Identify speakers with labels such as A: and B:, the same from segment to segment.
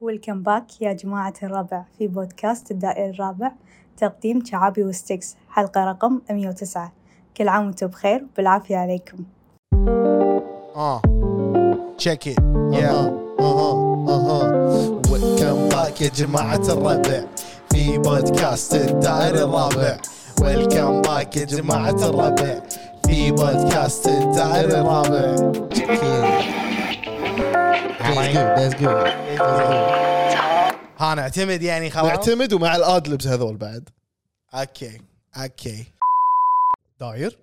A: ويلكم باك يا جماعة الربع في بودكاست الدائري الرابع تقديم شعابي وستكس حلقة رقم 109 كل عام وانتم بخير بالعافية عليكم
B: Uh, check it. Yeah. Uh-huh. Uh-huh. ويلكم باك يا جماعة الربع في بودكاست الدائر الرابع. ويلكم باك يا جماعة الربع في بودكاست الدائر الرابع.
C: يعني
B: That's good. That's good. ها نعتمد يعني خلاص.
C: نعتمد ومع الادلبس هذول بعد
B: اوكي اوكي.
C: داير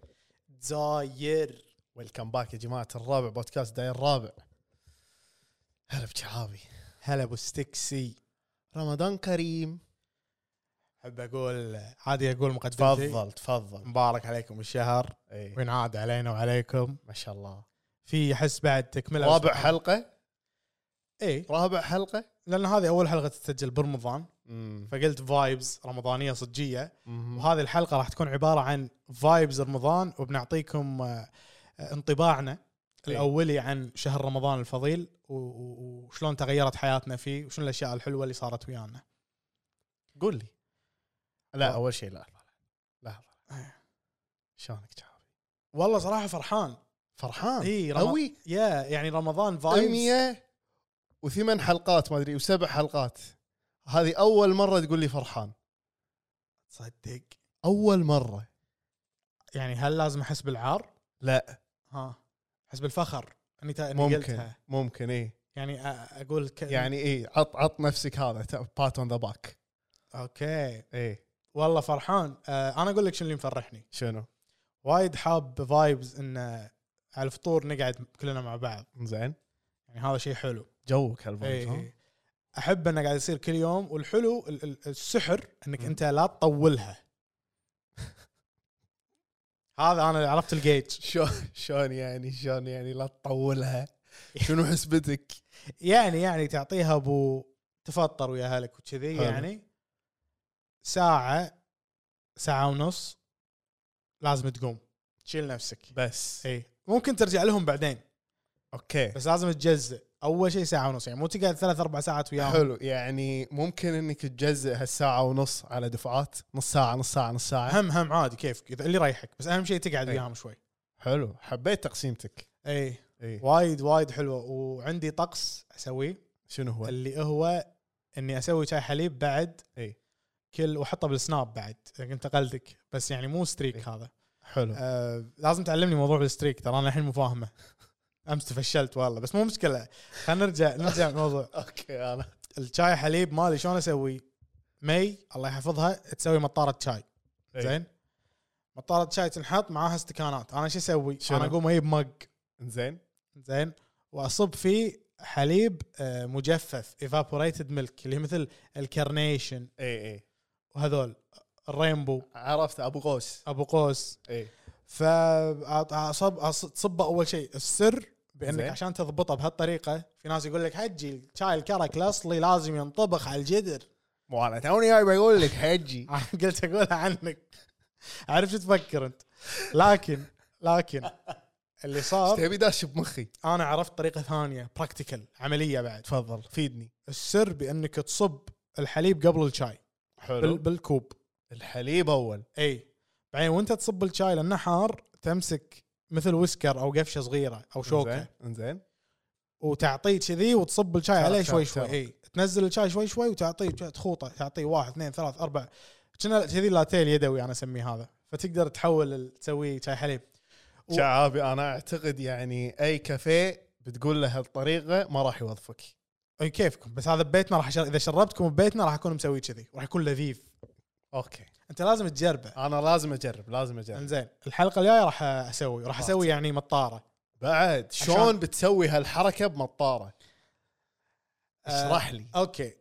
B: داير
C: ويلكم باك يا جماعه الرابع بودكاست داير الرابع هلا بشعابي
B: هلا ابو ستكسي
C: رمضان كريم
B: احب اقول عادي اقول مقدمتي
C: تفضل تفضل
B: مبارك عليكم الشهر
C: ايه
B: وينعاد علينا وعليكم
C: ما شاء الله
B: في احس بعد تكمله
C: رابع حلقه
B: اي
C: رابع حلقه
B: لان إيه. هذه اول حلقه تسجل برمضان فقلت فايبز رمضانيه صجيه
C: مهم.
B: وهذه الحلقه راح تكون عباره عن فايبز رمضان وبنعطيكم آه، آه، انطباعنا
C: إيه.
B: الاولي عن شهر رمضان الفضيل و- و- وشلون تغيرت حياتنا فيه وشنو الاشياء الحلوه اللي صارت ويانا
C: قول لي لا اول شيء لا لحظه
B: إيه.
C: شلونك شعابي
B: والله صراحه فرحان
C: فرحان
B: اي
C: قوي
B: يا يعني رمضان فايبز
C: 100 طيب. وثمان حلقات ما ادري وسبع حلقات هذه اول مره تقول لي فرحان
B: تصدق
C: اول مره
B: يعني هل لازم احس بالعار؟
C: لا
B: ها احس بالفخر اني تا- اني
C: ممكن
B: قلتها
C: ممكن ايه
B: يعني أ- اقول ك...
C: يعني ايه عط عط نفسك هذا بات اون ذا باك
B: اوكي
C: ايه
B: والله فرحان آه انا اقول لك شنو اللي مفرحني
C: شنو
B: وايد حاب فايبز ان آه، على الفطور نقعد كلنا مع بعض
C: زين
B: يعني هذا شيء حلو
C: جوك هالفايبز
B: إيه،
C: ها
B: إيه. احب انه قاعد يصير كل يوم والحلو ال- ال- السحر انك
C: مم.
B: انت لا تطولها هذا انا عرفت الجيج
C: شو- شلون يعني شلون يعني لا تطولها شنو حسبتك
B: يعني يعني تعطيها ابو تفطر ويا اهلك وكذي
C: حلو.
B: يعني ساعه ساعه ونص لازم تقوم تشيل نفسك
C: بس
B: اي ممكن ترجع لهم بعدين
C: اوكي
B: بس لازم تجزء اول شيء ساعه ونص يعني مو تقعد ثلاث اربع ساعات وياهم
C: حلو يعني ممكن انك تجزء هالساعه ونص على دفعات نص ساعه نص ساعه نص ساعه
B: هم هم عادي كيف اذا اللي يريحك بس اهم شيء تقعد
C: أي.
B: وياهم شوي
C: حلو حبيت تقسيمتك
B: اي
C: ايه
B: وايد وايد حلوه وعندي طقس اسويه
C: شنو هو
B: اللي هو اني اسوي شاي حليب بعد
C: أي.
B: كل واحطه بالسناب بعد كنت اقلدك بس يعني مو ستريك
C: أي.
B: هذا
C: حلو
B: آه لازم تعلمني موضوع الستريك ترى انا الحين مو فاهمه امس تفشلت والله بس مو مشكله خلينا نرجع نرجع الموضوع
C: اوكي انا
B: الشاي حليب مالي شلون اسوي؟ مي الله يحفظها تسوي مطاره شاي
C: إي.
B: زين مطاره شاي تنحط معاها استكانات انا شو اسوي؟
C: شنو؟
B: انا اقوم اجيب مج
C: زين
B: زين واصب فيه حليب آه، مجفف ايفابوريتد ميلك اللي هي مثل الكارنيشن
C: اي اي
B: وهذول الرينبو
C: إيه، عرفت إيه. ابو قوس
B: ابو قوس
C: اي
B: فاصب أص- تصبه اول شيء السر بانك
C: زين.
B: عشان تضبطه بهالطريقه في ناس يقول لك حجي شاي الكرك الاصلي لازم ينطبخ على الجدر
C: مو انا توني جاي بقول لك حجي
B: قلت اقولها عنك عارف شو تفكر انت لكن لكن اللي صار
C: تبي داش بمخي
B: انا عرفت طريقه ثانيه براكتيكال عمليه بعد
C: تفضل فيدني
B: السر بانك تصب الحليب قبل الشاي بال
C: حلو
B: بالكوب
C: الحليب اول
B: اي بعدين وانت تصب الشاي لانه حار تمسك مثل ويسكر او قفشه صغيره او شوكه
C: انزين انزين
B: وتعطيه كذي وتصب الشاي
C: ترى-
B: عليه
C: ترى-
B: شوي شوي
C: ترى.
B: اي تنزل الشاي شوي شوي وتعطيه تخوطه تعطيه واحد اثنين ثلاث اربع كنا كذي لاتيه اليدوي انا اسميه هذا فتقدر تحول ال- تسوي شاي حليب و-
C: شعابي انا اعتقد يعني اي كافيه بتقول له هالطريقه ما راح يوظفك
B: اي كيفكم بس هذا ببيتنا راح أشر... اذا شربتكم ببيتنا راح اكون مسوي كذي وراح يكون لذيذ
C: اوكي
B: انت لازم تجربه
C: انا لازم اجرب لازم اجرب
B: انزين الحلقه الجايه راح اسوي راح اسوي يعني مطاره
C: بعد
B: عشان-
C: شلون بتسوي هالحركه بمطاره
B: آه،
C: اشرح لي
B: اوكي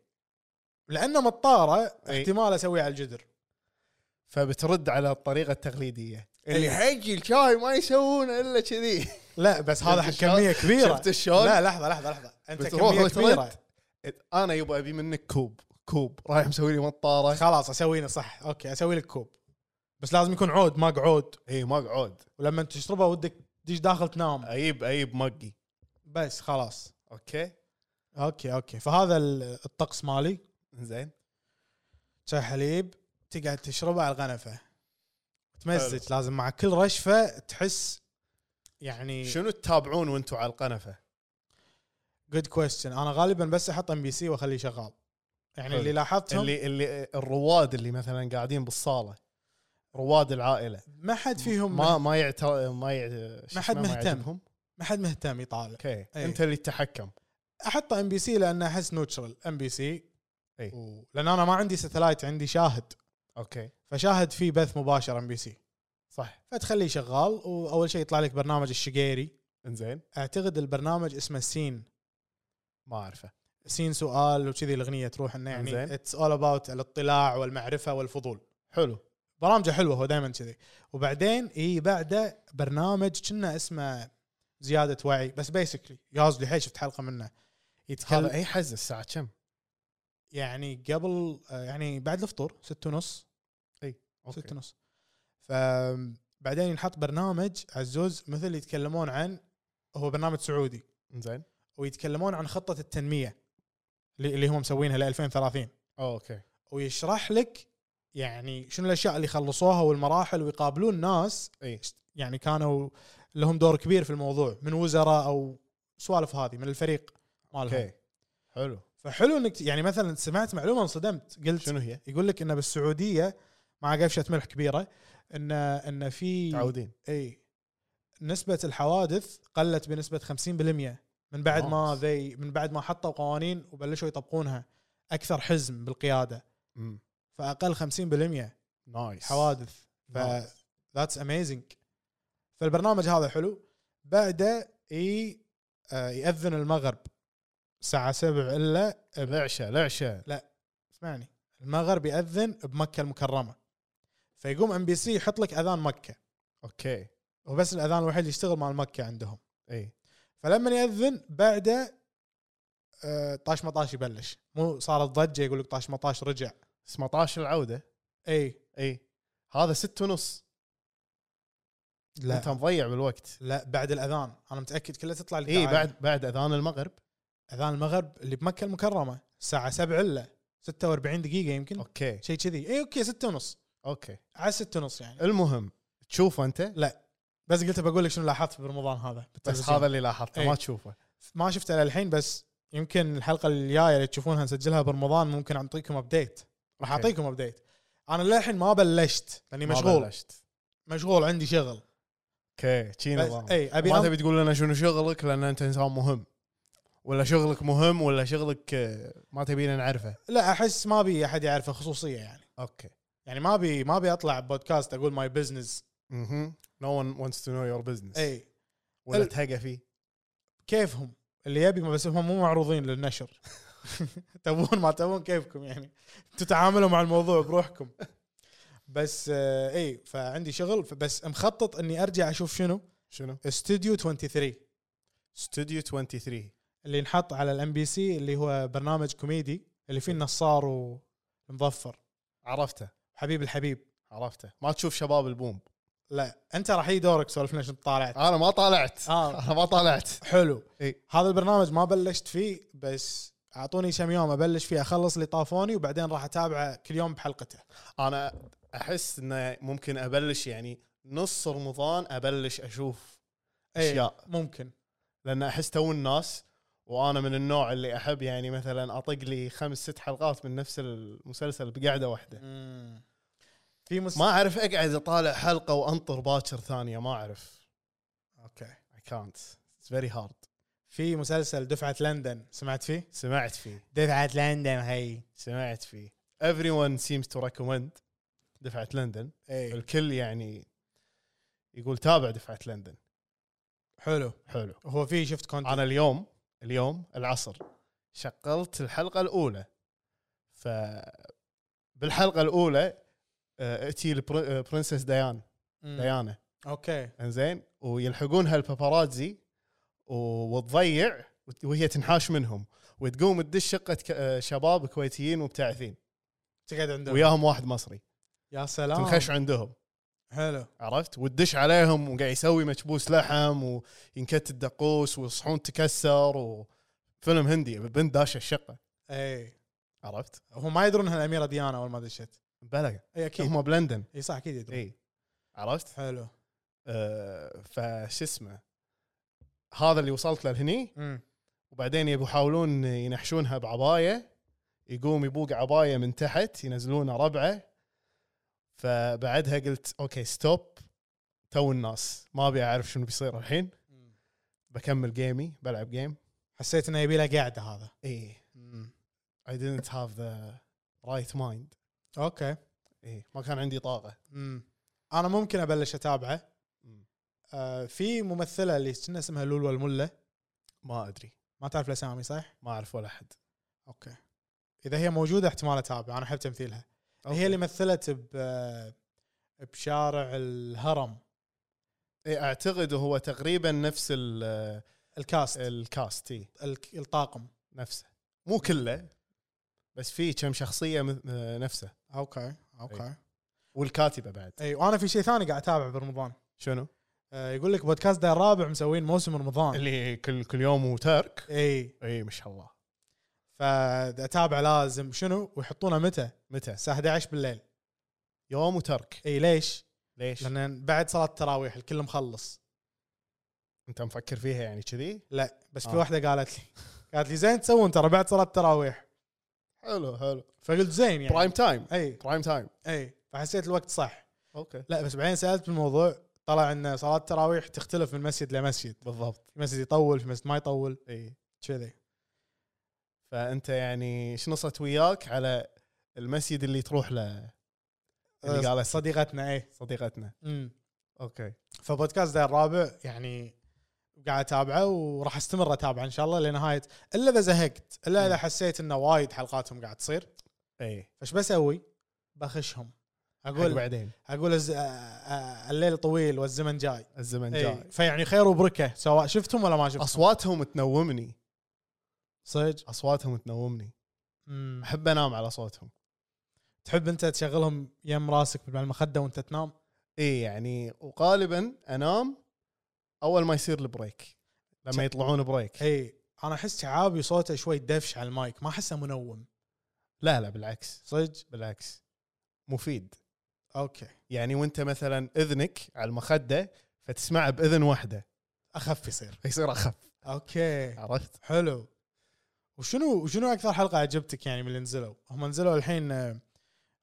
B: لانه مطاره
C: إي.
B: احتمال اسويه على الجدر
C: فبترد على الطريقه التقليديه
B: اللي
C: حجي الشاي ما يسوون الا كذي
B: لا بس هذا حق
C: شفت شلون؟
B: كميه كبيره
C: شفت شلون؟
B: لا لحظه لحظه لحظه انت
C: بتروح
B: كميه
C: وترد.
B: كبيره
C: انا يبغى ابي منك كوب كوب رايح مسوي لي مطاره
B: خلاص اسوي لي صح اوكي اسوي لك كوب بس لازم يكون عود ما قعود
C: اي إيه، ما اقعد
B: ولما تشربه ودك تدش داخل تنام
C: اجيب اجيب مقي
B: بس خلاص
C: اوكي
B: اوكي اوكي فهذا ال- الطقس مالي
C: زين
B: شاي حليب تقعد تشربه على الغنفه تمزج لازم مع كل رشفه تحس يعني
C: شنو تتابعون وانتم على القنفه؟
B: جود كويستشن انا غالبا بس احط ام بي سي واخليه شغال يعني
C: حلو.
B: اللي لاحظتهم
C: اللي اللي الرواد اللي مثلا قاعدين بالصاله رواد العائله
B: ما حد فيهم
C: ما ما يعتبر ما يع... شو
B: ما حد
C: اسمه؟
B: مهتم. إيه.
C: يعجبهم؟
B: ما حد مهتم يطالع
C: اوكي
B: أي.
C: انت اللي تتحكم
B: احطه ام بي سي لان احس نوتشرال ام بي سي
C: أي.
B: لان انا ما عندي ساتلايت عندي شاهد
C: اوكي
B: فشاهد فيه بث مباشر ام بي سي
C: صح
B: فتخليه شغال واول شيء يطلع لك برنامج الشقيري
C: انزين
B: اعتقد البرنامج اسمه سين
C: ما اعرفه
B: سين سؤال وكذي الاغنيه تروح انه يعني
C: إنزين.
B: اتس اول اباوت الاطلاع والمعرفه والفضول
C: حلو
B: برامجه حلوه هو دائما كذي وبعدين اي بعده برنامج كنا اسمه زياده وعي بس بيسكلي جاز لي شفت حلقه منه
C: هذا
B: يتكلم
C: اي حز الساعه كم؟
B: يعني قبل آه، يعني بعد الفطور ستة ونص
C: أوكي.
B: ستة ونص فبعدين ينحط برنامج عزوز مثل يتكلمون عن هو برنامج سعودي
C: انزين
B: ويتكلمون عن خطه التنميه اللي اللي هم مسوينها ل 2030
C: اوكي
B: ويشرح لك يعني شنو الاشياء اللي خلصوها والمراحل ويقابلون ناس
C: اي
B: يعني كانوا لهم دور كبير في الموضوع من وزراء او سوالف هذه من الفريق مالهم
C: اوكي حلو
B: فحلو انك يعني مثلا سمعت معلومه انصدمت قلت
C: شنو هي؟
B: يقول لك انه بالسعوديه مع قفشه ملح كبيره ان ان في
C: متعودين
B: اي نسبه الحوادث قلت بنسبه 50% من بعد ما
C: نايس.
B: ذي من بعد ما حطوا قوانين وبلشوا يطبقونها اكثر حزم بالقياده
C: مم.
B: فاقل 50%
C: نايس
B: حوادث ف
C: نايس.
B: ذاتس اميزنج فالبرنامج هذا حلو بعده اي آه، ياذن المغرب الساعه 7 الا
C: لعشه لعشه
B: اسمعني المغرب ياذن بمكه المكرمه فيقوم ام بي سي يحط لك اذان مكه
C: اوكي
B: وبس الاذان الوحيد اللي يشتغل مال مكه عندهم
C: اي
B: فلما ياذن بعده آه، طاش مطاش يبلش مو صارت ضجه يقول لك طاش مطاش رجع
C: 17 العوده
B: اي
C: اي إيه. هذا ست ونص انت
B: لا
C: مضيع بالوقت
B: لا بعد الاذان انا متاكد كلها تطلع لك
C: اي
B: دعاية.
C: إيه، بعد بعد اذان المغرب
B: اذان المغرب اللي بمكه المكرمه الساعه 7 الا 46 دقيقه يمكن
C: اوكي
B: شيء كذي اي اوكي 6 ونص
C: اوكي
B: على 6 ونص يعني
C: المهم تشوفه انت
B: بس قلت بقول لك شنو لاحظت برمضان هذا
C: بس إيه.
B: بالتلفزيون.
C: هذا اللي لاحظته
B: إي.
C: ما تشوفه
B: ما شفته للحين بس يمكن الحلقه الجايه اللي تشوفونها نسجلها برمضان ممكن اعطيكم ابديت راح
C: أوكي.
B: اعطيكم ابديت انا للحين ما بلشت لاني
C: ما
B: مشغول
C: بلشت.
B: مشغول عندي شغل
C: اوكي شي
B: بس
C: نظام
B: اي ابي
C: ما
B: أم...
C: تبي تقول لنا شنو شغلك لان انت انسان مهم ولا شغلك مهم ولا شغلك آه، ما تبينا نعرفه
B: لا احس ما بي احد يعرفه خصوصيه يعني
C: اوكي
B: يعني ما بي ما بي اطلع بودكاست اقول ماي بزنس
C: اها نو ون wants تو نو يور بزنس
B: اي
C: ولا
B: ال-
C: تهقى فيه
B: كيفهم اللي يبي ما بس هم مو معروضين للنشر تبون ما تبون كيفكم يعني تتعاملوا مع الموضوع بروحكم بس آه اي فعندي شغل بس مخطط اني ارجع اشوف شنو
C: شنو؟
B: استوديو 23
C: استوديو 23
B: اللي انحط على الام بي سي اللي هو برنامج كوميدي اللي فيه النصار ومظفر
C: عرفته
B: حبيب الحبيب
C: عرفته ما تشوف شباب البوم
B: لا انت راح يجي دورك سولفنا شنو طالعت
C: انا ما طالعت
B: آه.
C: انا ما طالعت
B: حلو
C: إي.
B: هذا البرنامج ما بلشت فيه بس اعطوني كم يوم ابلش فيه اخلص اللي طافوني وبعدين راح اتابعه كل يوم بحلقته
C: انا احس انه ممكن ابلش يعني نص رمضان ابلش اشوف
B: إي،
C: اشياء
B: إيه، ممكن
C: لان احس تو الناس وانا من النوع اللي احب يعني مثلا اطق لي خمس ست حلقات من نفس المسلسل بقعده واحده
B: في مس...
C: ما اعرف اقعد اطالع حلقه وانطر باكر ثانيه ما اعرف
B: اوكي
C: I can't it's very hard
B: في مسلسل دفعه لندن سمعت فيه
C: سمعت فيه
B: دفعه لندن هي
C: سمعت فيه everyone seems to recommend دفعه لندن
B: اي
C: الكل يعني يقول تابع دفعه لندن
B: حلو
C: حلو
B: هو في شفت كونتنت
C: انا اليوم اليوم العصر شغلت الحلقه الاولى ف بالحلقه الاولى آه، اتي البرنسس ديان ديانا
B: اوكي
C: انزين ويلحقونها الباباراتزي و- وتضيع وت- وهي تنحاش منهم وتقوم تدش شقه ك- آه، شباب كويتيين مبتعثين
B: تقعد عندهم
C: وياهم واحد مصري
B: يا سلام
C: تنخش عندهم
B: حلو
C: عرفت وتدش عليهم وقاعد يسوي مكبوس لحم وينكت الدقوس وصحون تكسر و فيلم هندي البنت داشه الشقه
B: اي
C: عرفت؟
B: إيه. هم ما يدرون انها الاميره ديانا اول ما دشت
C: بلا
B: اي اكيد
C: هم بلندن
B: اي إيه، صح اكيد يدرون
C: اي عرفت؟
B: حلو
C: آه فش اسمه هذا اللي وصلت له هني
B: امم
C: وبعدين يبوا يحاولون ينحشونها بعبايه يقوم يبوق عبايه من تحت ينزلونه ربعه فبعدها قلت اوكي ستوب تو الناس ما ابي اعرف شنو بيصير الحين بكمل جيمي بلعب جيم
B: حسيت انه يبي له قاعده هذا
C: اي
B: مم.
C: إيه. I didn't have the right mind
B: اوكي
C: اي ما كان عندي طاقه
B: مم. انا ممكن ابلش اتابعه
C: مم.
B: آه في ممثله اللي كنا اسمها لولو المله
C: ما ادري
B: ما تعرف الاسامي صح؟
C: ما اعرف ولا احد
B: اوكي اذا هي موجوده احتمال اتابع انا احب تمثيلها هي اللي مثلت ب آه، بشارع الهرم
C: اي اعتقد هو تقريبا نفس ال-
B: الكاست
C: الكاست اي
B: ال- الطاقم
C: نفسه مو كله بس في كم شخصيه م- آه، نفسه
B: اوكي
C: إيه.
B: اوكي
C: والكاتبه بعد
B: اي وانا في شيء ثاني قاعد اتابع برمضان
C: شنو؟
B: آه، يقول لك بودكاست دار الرابع مسوين موسم رمضان
C: اللي كل كل يوم وترك
B: اي
C: اي ما شاء الله
B: فاتابع لازم شنو ويحطونه متى؟
C: متى؟
B: الساعه 11 بالليل
C: يوم وترك
B: اي ليش؟
C: ليش؟
B: لان بعد صلاه التراويح الكل مخلص
C: انت مفكر فيها يعني كذي؟
B: لا بس في
C: آه.
B: واحده قالت لي قالت لي زين تسوون ترى بعد صلاه التراويح
C: حلو حلو
B: فقلت زين يعني
C: برايم تايم
B: اي
C: برايم تايم
B: اي فحسيت الوقت صح
C: اوكي
B: لا بس بعدين سالت بالموضوع طلع ان صلاه التراويح تختلف من مسجد لمسجد
C: بالضبط
B: في مسجد يطول في مسجد ما يطول
C: اي
B: كذي
C: فانت يعني شنصت وياك على المسجد اللي تروح له اللي قالت
B: أه، صديقتنا اي
C: صديقتنا
B: امم
C: اوكي
B: فبودكاست ذا الرابع يعني قاعد اتابعه وراح استمر اتابعه ان شاء الله لنهايه الا اذا زهقت الا اذا
C: مم.
B: حسيت انه وايد حلقاتهم قاعد تصير
C: اي
B: فش بسوي؟ بخشهم
C: اقول
B: اقول
C: بعدين
B: اقول الز... آه، آه، الليل طويل والزمن جاي
C: الزمن
B: اي
C: جاي
B: فيعني خير وبركه سواء شفتهم ولا ما شفتهم
C: اصواتهم تنومني
B: صدق
C: اصواتهم تنومني
B: مم.
C: احب انام على صوتهم
B: تحب انت تشغلهم يم راسك مع المخده وانت تنام
C: اي يعني وغالبا انام اول ما يصير البريك
B: شا-
C: لما يطلعون بريك
B: اي انا احس شعابي صوته شوي دفش على المايك ما احسه منوم
C: لا لا بالعكس
B: صدق
C: بالعكس مفيد
B: اوكي
C: يعني وانت مثلا اذنك على المخده فتسمعه باذن واحده
B: اخف يصير
C: فيصير اخف
B: اوكي
C: عرفت؟
B: حلو وشنو وشنو اكثر حلقه عجبتك يعني من اللي نزلوا هم نزلوا الحين آه،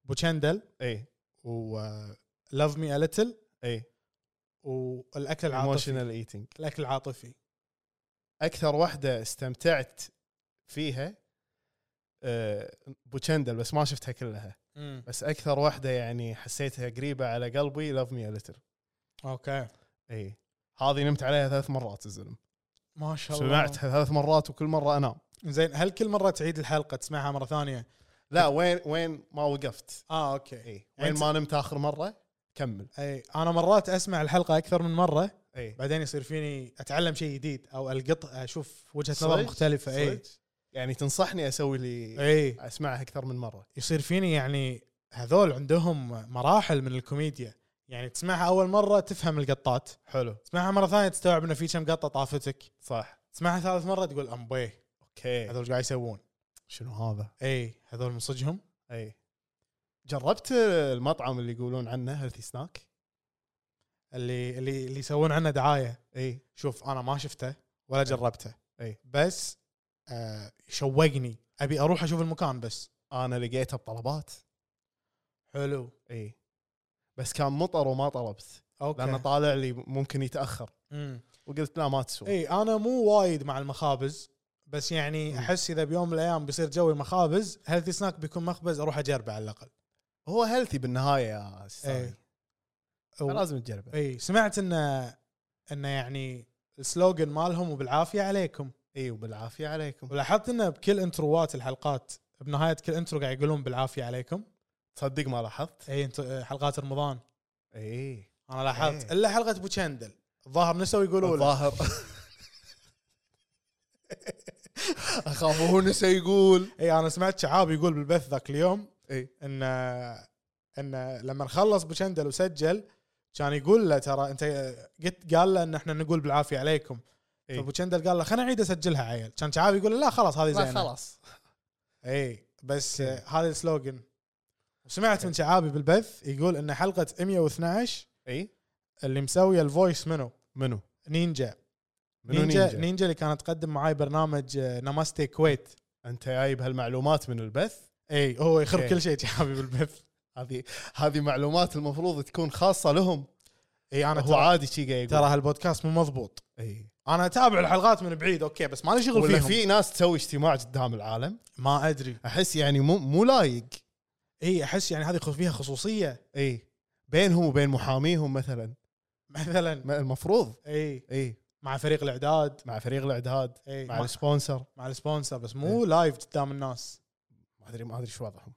B: بوشندل
C: اي
B: و آه، لاف مي اليتل
C: اي
B: والاكل العاطفي
C: ايموشنال ايتنج
B: الاكل العاطفي
C: اكثر واحده استمتعت فيها آه، بوتشندل بس ما شفتها كلها
B: امم
C: بس اكثر واحده يعني حسيتها قريبه على قلبي لاف مي ليتل
B: اوكي
C: اي هذه نمت عليها ثلاث مرات الزلم
B: ما شاء الله
C: سمعتها ثلاث مرات وكل مره انام
B: زين هل كل مره تعيد الحلقه تسمعها مره ثانيه
C: لا وين وين ما وقفت
B: اه اوكي
C: اي
B: يعني
C: إيه. وين ما نمت اخر مره كمل
B: اي انا مرات اسمع الحلقه اكثر من مره
C: اي
B: بعدين يصير فيني اتعلم شيء جديد او القط اشوف وجهه نظر إيه.
C: صدق؟
B: مختلفه اي
C: صدق؟ يعني تنصحني اسوي لي
B: اي
C: اسمعها اكثر من مره
B: يصير فيني يعني هذول عندهم مراحل من الكوميديا يعني تسمعها اول مره تفهم القطات
C: حلو
B: تسمعها مره ثانيه تستوعب انه في كم قطه طافتك
C: صح
B: تسمعها ثالث مره تقول امبيه
C: اوكي
B: هذول إيش قاعد يسوون
C: شنو هذا
B: اي هذول من صجهم
C: اي جربت المطعم اللي يقولون عنه هيلثي سناك
B: اللي اللي اللي يسوون عنه دعايه
C: اي
B: شوف انا ما شفته ولا جربته
C: أي.
B: بس آه شوقني ابي اروح اشوف المكان بس
C: انا لقيته بطلبات
B: حلو
C: اي بس كان مطر وما طلبت
B: اوكي
C: لانه طالع لي ممكن يتاخر
B: مم.
C: وقلت لا ما تسوى
B: اي انا مو وايد مع المخابز بس يعني
C: مم.
B: احس اذا بيوم من الايام بيصير جوي مخابز هيلثي سناك بيكون مخبز اروح اجربه على الاقل
C: هو هيلثي بالنهايه يا
B: إيه.
C: سامي
B: و-
C: لازم تجربه
B: اي سمعت انه انه يعني السلوغن مالهم وبالعافيه عليكم
C: اي وبالعافيه عليكم
B: ولاحظت انه بكل انتروات الحلقات بنهايه كل انترو قاعد يقولون بالعافيه عليكم
C: تصدق ما لاحظت
B: اي انت حلقات رمضان
C: اي
B: انا لاحظت
C: إيه.
B: الا حلقه ابو شندل الظاهر نسوا يقولوا له
C: الظاهر اخاف هو نسى يقول
B: اي انا سمعت شعاب يقول بالبث ذاك اليوم
C: اي
B: ان ان لما خلص بوشندل آه، وسجل كان يقول له ترى انت قلت قال له ان احنا نقول بالعافيه عليكم
C: إي.
B: فابو شندل قال له خليني اعيد اسجلها عيل كان شعابي يقول له لا خلاص هذه
C: لا
B: زينه
C: خلاص
B: اي بس
C: أوكي.
B: آه، هذا السلوجن وسمعت من شعابي بالبث يقول ان حلقه 112
C: اي
B: اللي مسويه الفويس منو
C: منو؟
B: نينجا
C: منو
B: نينجا
C: نينجا؟
B: نينجا, نينجا اللي كانت تقدم معاي برنامج آه، نماستي كويت
C: انت جايب هالمعلومات من البث
B: اي إيه، هو يخرب
C: أوكي.
B: كل شيء شعابي بالبث
C: هذه هذه معلومات المفروض تكون خاصه لهم
B: اي انا
C: هو
B: ترى,
C: عادي شي قاعد
B: ترى
C: يقول
B: هالبودكاست مو مضبوط
C: اي
B: انا اتابع الحلقات من بعيد اوكي بس مالي شغل
C: إيه. ولا
B: فيهم في...
C: في ناس تسوي اجتماع قدام العالم
B: ما ادري
C: احس يعني مو مو لايق
B: اي احس يعني هذه خ- فيها خصوصيه
C: اي بينهم وبين محاميهم مثلا
B: مثلا
C: ما- المفروض
B: اي
C: اي
B: إيه، مع فريق الاعداد
C: مع فريق الاعداد
B: اي
C: مع إيه.
B: مع,
C: السبونسر
B: مع السبونسر بس مو لايف قدام الناس
C: ما ادري ما ادري شو وضعهم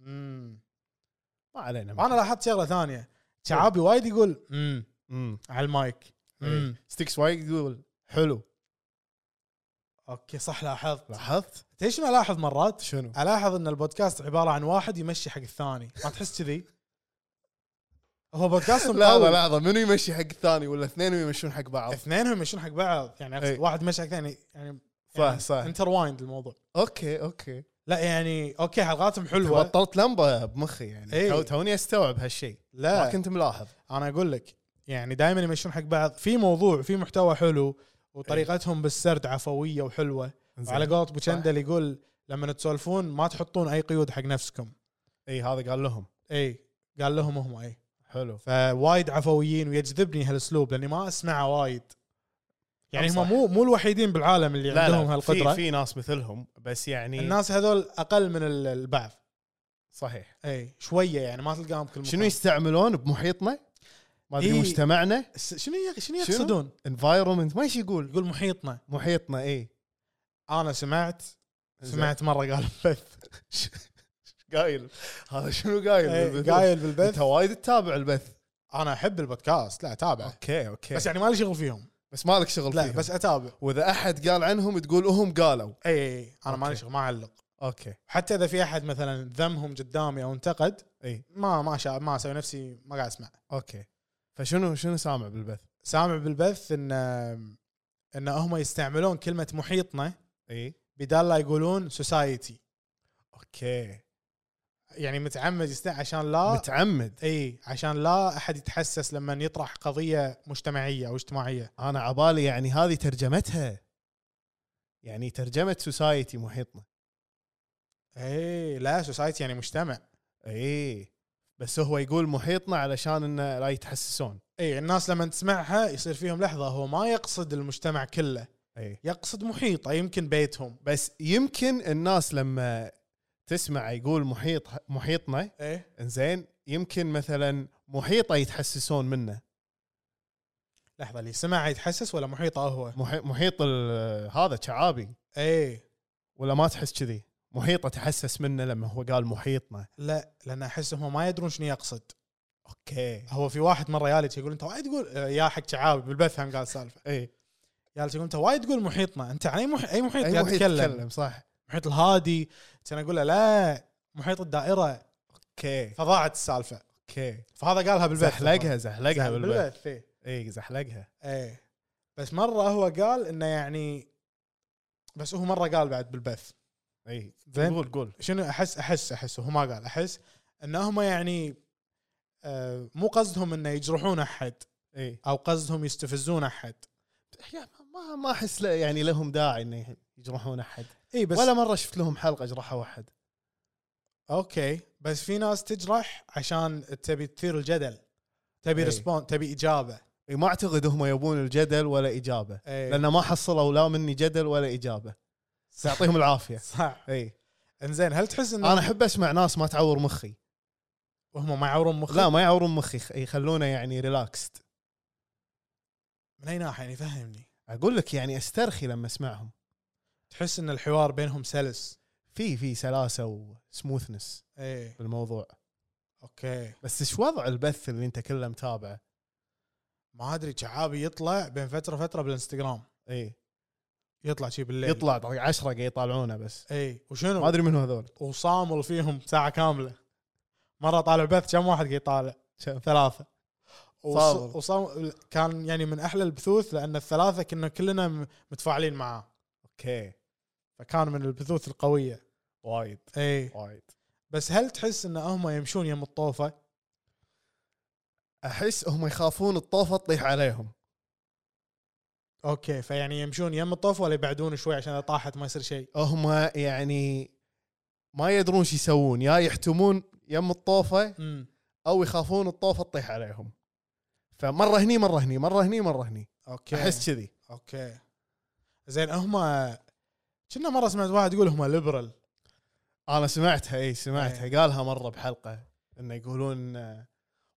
B: امم
C: ما علينا
B: انا لاحظت شغله ثانيه شعابي وايد يقول امم
C: امم
B: على المايك
C: إيه.
B: امم
C: ستيكس وايد يقول حلو
B: اوكي صح لاحظت
C: لاحظت
B: ليش ما الاحظ مرات
C: شنو
B: الاحظ ان البودكاست عباره عن واحد يمشي حق الثاني ما تحس كذي هو بودكاست
C: لحظه
B: قوي
C: لحظه منو يمشي حق الثاني ولا اثنين يمشون حق بعض
B: اثنينهم يمشون حق بعض يعني
C: إي.
B: أقصد واحد مشي حق ثاني يعني
C: إيه. صح صح
B: انتروايند الموضوع
C: اوكي اوكي
B: لا يعني اوكي حلقاتهم حلوه
C: بطلت لمبه بمخي يعني
B: إي.
C: تو- توني استوعب هالشيء ما
B: إيه. لا
C: كنت ملاحظ
B: انا اقول لك يعني دائما يمشون حق بعض في موضوع في محتوى حلو وطريقتهم بالسرد عفويه وحلوه على قولة ابو شندل يقول لما تسولفون ما تحطون اي قيود حق نفسكم
C: اي هذا قال لهم
B: اي قال لهم هم اي
C: حلو
B: فوايد عفويين ويجذبني هالاسلوب لاني ما اسمعه وايد يعني
C: صح.
B: هم مو مو الوحيدين بالعالم اللي
C: لا
B: عندهم
C: لا
B: هالقدره
C: في في ناس مثلهم بس يعني
B: الناس هذول اقل من ال- البعض
C: صحيح
B: اي شويه يعني ما تلقاهم كل مكان
C: شنو يستعملون بمحيطنا ما ادري
B: إي.
C: مجتمعنا
B: س- شنو يق- شنو
C: شنو؟
B: يقصدون؟
C: انفايرمنت ما ايش يقول
B: يقول محيطنا
C: محيطنا اي
B: انا سمعت سمعت مره قال بث
C: قايل هذا شنو قايل
B: إي، قايل
C: انت
B: بالبث
C: وايد تتابع البث
B: انا احب البودكاست لا اتابع
C: اوكي اوكي
B: بس
C: بس,
B: يعني مالي شغل فيهم
C: بس مالك شغل
B: لا
C: فيهم.
B: بس اتابع
C: واذا احد قال عنهم تقول هم قالوا
B: اي اي اي انا مالي
C: أوكي.
B: شغل إيه. ما اعلق
C: اوكي
B: حتى اذا في احد مثلا ذمهم قدامي او انتقد
C: اي
B: ما ما شا ما اسوي نفسي ما قاعد اسمع
C: اوكي فشنو شنو سامع بالبث
B: سامع بالبث ان ان هم يستعملون كلمه محيطنا
C: اي
B: بدال لا يقولون سوسايتي
C: اوكي
B: يعني متعمد يست عشان
C: آه.
B: لا
C: متعمد
B: اي عشان لا احد يتحسس لما يطرح قضيه مجتمعيه او اجتماعيه
C: انا عبالي يعني هذه ترجمتها يعني ترجمه سوسايتي محيطنا إيه،
B: اي لا سوسايتي يعني مجتمع
C: اي إيه، بس هو يقول محيطنا علشان انه لا يتحسسون
B: اي إيه، يعني الناس لما تسمعها يصير فيهم لحظه هو ما يقصد المجتمع كله
C: اي
B: يقصد محيطه يمكن بيتهم
C: إيه. بس يمكن الناس لما تسمع يقول محيط محيطنا
B: ايه
C: انزين يمكن مثلا محيطه يتحسسون منه
B: لحظه اللي سمع يتحسس ولا محيطه هو إيه.
C: محي- محيط ال- هذا شعابي
B: اي
C: ولا ما تحس كذي محيطه تحسس منه لما هو قال محيطنا
B: لا لان احس هم ما يدرون شنو يقصد
C: اوكي
B: هو في واحد مره يالي يقول انت وايد تقول آه، يا حق شعابي بالبث هم قال سالفه
C: اي
B: يالي إيه. يقول انت وايد تقول محيطنا يعني انت عن اي محيط اي محيط
C: اي
B: قاعد
C: محيط
B: تتكلم
C: تتكلم صح
B: محيط الهادي كان اقول له لا محيط الدائره
C: اوكي
B: فضاعت السالفه
C: اوكي
B: فهذا قالها بالبث
C: زحلقها آه. زحلقها بالبث
B: بالبث اي
C: اي زحلقها
B: ايه بس مره هو قال انه يعني بس هو مره قال بعد بالبث
C: اي
B: زين.
C: قول قول
B: شنو احس احس احس هو ما قال احس ان هم يعني آه، مو قصدهم انه يجرحون احد
C: اي
B: او قصدهم يستفزون احد
C: يا ما ما احس له- يعني لهم داعي انه يجرحون احد
B: اي بس
C: ولا مره شفت لهم حلقه جرحوا احد
B: اوكي بس في ناس تجرح عشان تبي تثير الجدل تبي
C: إي.
B: ريسبون تبي اجابه
C: اي ما اعتقد هم يبون الجدل ولا اجابه
B: إي.
C: لان إيه. ما حصلوا لا مني جدل ولا اجابه يعطيهم العافيه
B: صح
C: اي
B: انزين هل تحس ان
C: انا احب اسمع ناس ما تعور مخي
B: وهم ما يعورون مخك
C: لا ما يعورون مخي خ- يخلونه يعني ريلاكست
B: من اي ناحيه يعني فهمني
C: اقول لك يعني استرخي لما اسمعهم
B: تحس ان الحوار بينهم سلس
C: في في سلاسه وسموثنس
B: اي
C: بالموضوع
B: اوكي
C: بس ايش وضع البث اللي انت كله متابعه
B: ما ادري شعابي يطلع بين فتره فتره بالانستغرام
C: اي
B: يطلع شي بالليل
C: إيه. يطلع دقيقة عشرة قاعد يطالعونه بس
B: اي
C: ما
B: وشنو
C: ادري منو هذول
B: وصامل فيهم ساعه كامله مره طالع بث كم واحد قاعد يطالع ثلاثه وص-
C: فاضل.
B: وصام كان يعني من احلى البثوث لان الثلاثه كنا كلنا م- متفاعلين معاه
C: اوكي
B: فكان من البثوث القويه
C: وايد
B: اي
C: وايد
B: بس هل تحس ان هم يمشون يم الطوفه؟
C: احس هم يخافون الطوفه تطيح عليهم
B: اوكي فيعني يمشون يم الطوفه ولا يبعدون شوي عشان اذا طاحت ما يصير شيء؟
C: هم يعني ما يدرون شو يسوون يا يحتمون يم الطوفه
B: امم
C: او يخافون الطوفه تطيح عليهم فمره هني مره هني مره هني مره هني
B: اوكي
C: احس كذي
B: اوكي زين هم كنا مره سمعت واحد يقول هم ليبرال
C: انا سمعتها اي سمعتها
B: إيه.
C: قالها مره بحلقه انه يقولون آه،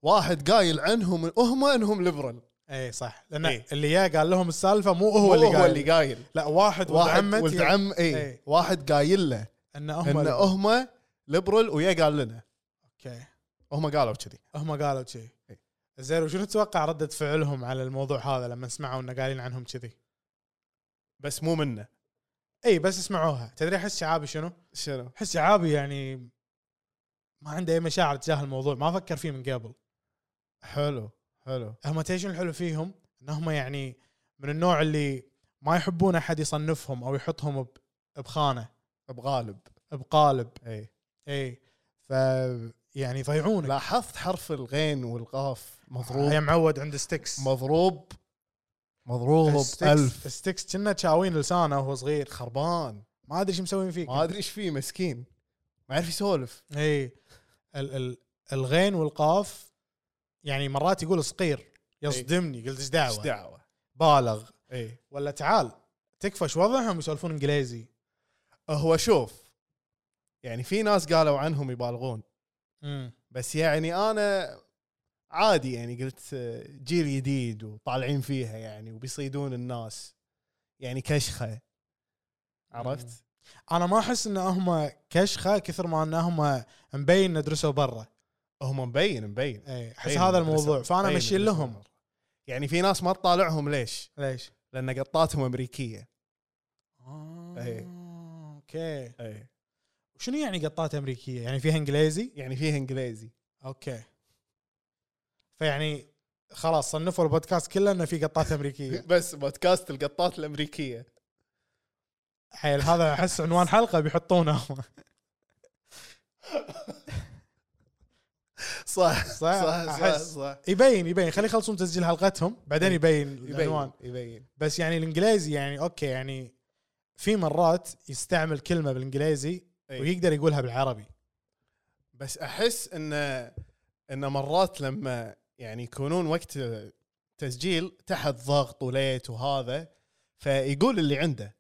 C: واحد قايل عنهم هم انهم ليبرال
B: اي إيه، صح لان
C: إي.
B: اللي جاء قال لهم السالفه مو هو
C: إيه. مو
B: اللي
C: هو
B: قال
C: اللي قايل
B: لا واحد
C: واحد
B: وعمت
C: ولد عم اي
B: إيه.
C: واحد قايل له
B: ان هم
C: ان
B: ليبرال.
C: هم ليبرال ويا قال لنا
B: اوكي
C: هم قالوا كذي
B: هم قالوا كذي
C: إي.
B: زين وشنو تتوقع ردة فعلهم على الموضوع هذا لما سمعوا انه قايلين عنهم كذي؟
C: بس مو منا
B: اي إيه، بس سمعوها تدري احس شعابي شنو؟
C: شنو
B: احس شعابي يعني ما عنده اي مشاعر تجاه الموضوع ما فكر فيه من قبل
C: حلو حلو
B: هم تيجي الحلو فيهم انهم يعني من النوع اللي ما يحبون احد يصنفهم او يحطهم ب- بخانه
C: بغالب
B: بقالب
C: اي
B: اي ف يعني يضيعونك
C: لاحظت حرف الغين والقاف
B: يا
C: مضروب
B: معود عند ستكس
C: مضروب مضروب
B: ستكس
C: ألف
B: ستكس كنا شاوين لسانه وهو صغير
C: خربان
B: ما ادري شو مسوين فيك
C: ما ادري ايش فيه مسكين ما يعرف يسولف
B: اي إيه. ال ال الغين والقاف يعني مرات يقول صقير يصدمني قلت ايش
C: ايش
B: دعوه
C: دعوه
B: بالغ
C: اي
B: ولا تعال تكفى شو وضعهم يسولفون انجليزي
C: هو شوف يعني في ناس قالوا عنهم يبالغون
B: امم
C: بس يعني انا عادي يعني قلت آه، جيل جديد وطالعين فيها يعني وبيصيدون الناس يعني كشخه
B: مم.
C: عرفت؟
B: انا ما احس ان هم كشخه كثر ما ان هم مبين إن درسوا برا
C: هم مبين مبين
B: اي احس
C: مبين
B: هذا
C: مدرسة-
B: الموضوع فانا
C: مبين
B: مشي
C: مدرسة
B: لهم
C: برا. يعني في ناس ما تطالعهم ليش؟
B: ليش؟
C: لان قطاتهم امريكيه إي.
B: آه، اوكي
C: اي
B: شنو يعني قطات امريكيه؟ يعني فيها انجليزي؟
C: يعني فيها انجليزي
B: اوكي فيعني خلاص صنفوا البودكاست كله انه في قطات امريكيه
C: بس بودكاست القطات الامريكيه
B: حيل هذا احس عنوان حلقه بيحطونه هم.
C: صح
B: صح،
C: صح صح,
B: أحس.
C: صح.
B: يبين يبين خلي يخلصون تسجيل حلقتهم بعدين
C: إي.
B: يبين
C: يبين
B: العنوان
C: يبين
B: بس يعني الانجليزي يعني اوكي يعني في مرات يستعمل كلمه بالانجليزي
C: إي.
B: ويقدر يقولها بالعربي
C: بس احس ان ان مرات لما يعني يكونون وقت تسجيل تحت ضغط وليت وهذا فيقول اللي عنده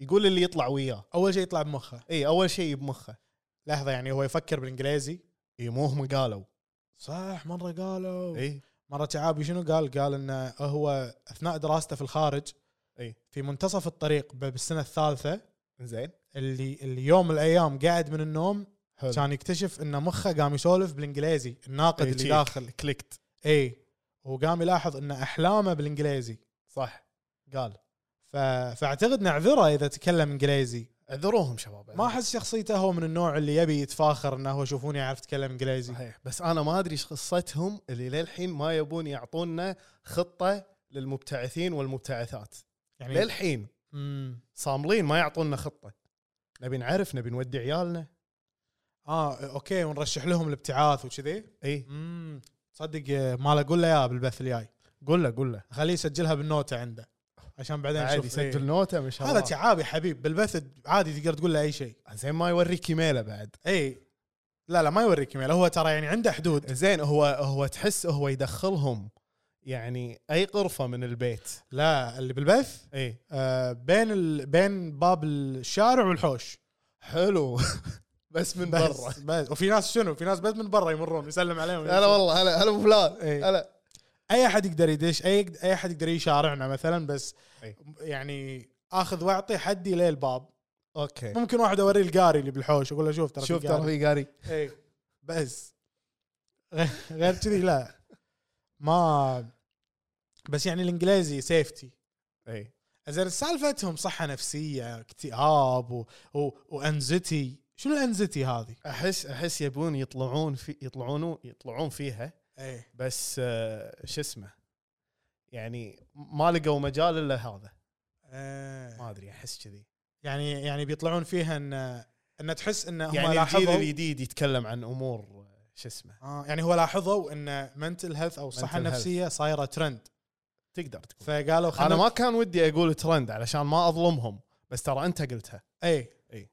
C: يقول اللي يطلع وياه
B: اول شيء يطلع بمخه
C: اي اول شيء بمخه
B: لحظه يعني هو يفكر بالانجليزي
C: اي مو هم قالوا
B: صح مره قالوا
C: اي
B: مره تعابي شنو قال؟ قال انه هو اثناء دراسته في الخارج
C: إي.
B: في منتصف الطريق ب- بالسنه الثالثه
C: زين
B: اللي اللي يوم من الايام قاعد من النوم
C: حلو
B: كان يكتشف ان مخه قام يسولف بالانجليزي الناقد
C: إي،
B: اللي
C: شيك.
B: داخل
C: كليكت
B: اي وقام يلاحظ ان احلامه بالانجليزي
C: صح قال
B: ف... فاعتقد نعذره اذا تكلم انجليزي
C: اعذروهم شباب
B: ما احس شخصيته هو من النوع اللي يبي يتفاخر انه هو شوفوني اعرف اتكلم انجليزي
C: صحيح بس انا ما ادري ايش قصتهم اللي للحين ما يبون يعطونا خطه للمبتعثين والمبتعثات
B: يعني
C: للحين
B: امم
C: صاملين ما يعطونا خطه نبي نعرف نبي نودي عيالنا
B: اه اوكي ونرشح لهم الابتعاث وكذي
C: اي
B: امم تصدق آه، ما اقول له يا بالبث الجاي
C: قول له قول له
B: خليه يسجلها بالنوتة عنده عشان بعدين
C: عادي
B: نشوف
C: يسجل نوته مش
B: إيه. هذا تعابي حبيب بالبث عادي تقدر تقول له اي شيء
C: آه، زين ما يوريك ايميله بعد
B: اي لا لا ما يوريك ايميل هو ترى يعني عنده حدود
C: زين هو هو تحس هو يدخلهم يعني اي غرفه من البيت
B: لا اللي بالبث
C: اي
B: آه بين ال... بين باب الشارع والحوش
C: حلو بس من برا
B: بس, بس وفي ناس شنو في ناس بس من برا يمرون يسلم عليهم
C: هلا والله هلا هلا أبو فلان
B: إي.
C: هلا
B: اي احد يقدر يدش اي اي احد يقدر يشارعنا مثلا بس
C: أي.
B: يعني اخذ واعطي حدي ليه الباب
C: اوكي
B: ممكن واحد اوريه القاري اللي بالحوش اقول له شوف ترى في
C: شوف
B: قاري.
C: ترى في قاري
B: اي بس غ- غير كذي لا ما بس يعني الانجليزي سيفتي
C: اي
B: زين سالفتهم صحه نفسيه اكتئاب و... و... وانزتي شنو الانزتي هذه؟
C: احس احس يبون يطلعون في يطلعون يطلعون فيها
B: اي
C: بس آه، شو اسمه يعني ما لقوا مجال الا هذا ما ادري احس كذي
B: آه. يعني يعني بيطلعون فيها ان ان تحس ان هم
C: يعني الجيل
B: لاحظوا
C: الجديد يتكلم عن امور آه، شو اسمه
B: آه يعني هو لاحظوا ان منتل هيلث او الصحه
C: Mental health.
B: النفسيه صايره ترند
C: تقدر تقول
B: فقالوا خلنا
C: انا ما كان ودي اقول ترند علشان ما اظلمهم بس ترى انت قلتها
B: اي
C: إي.
B: إيه.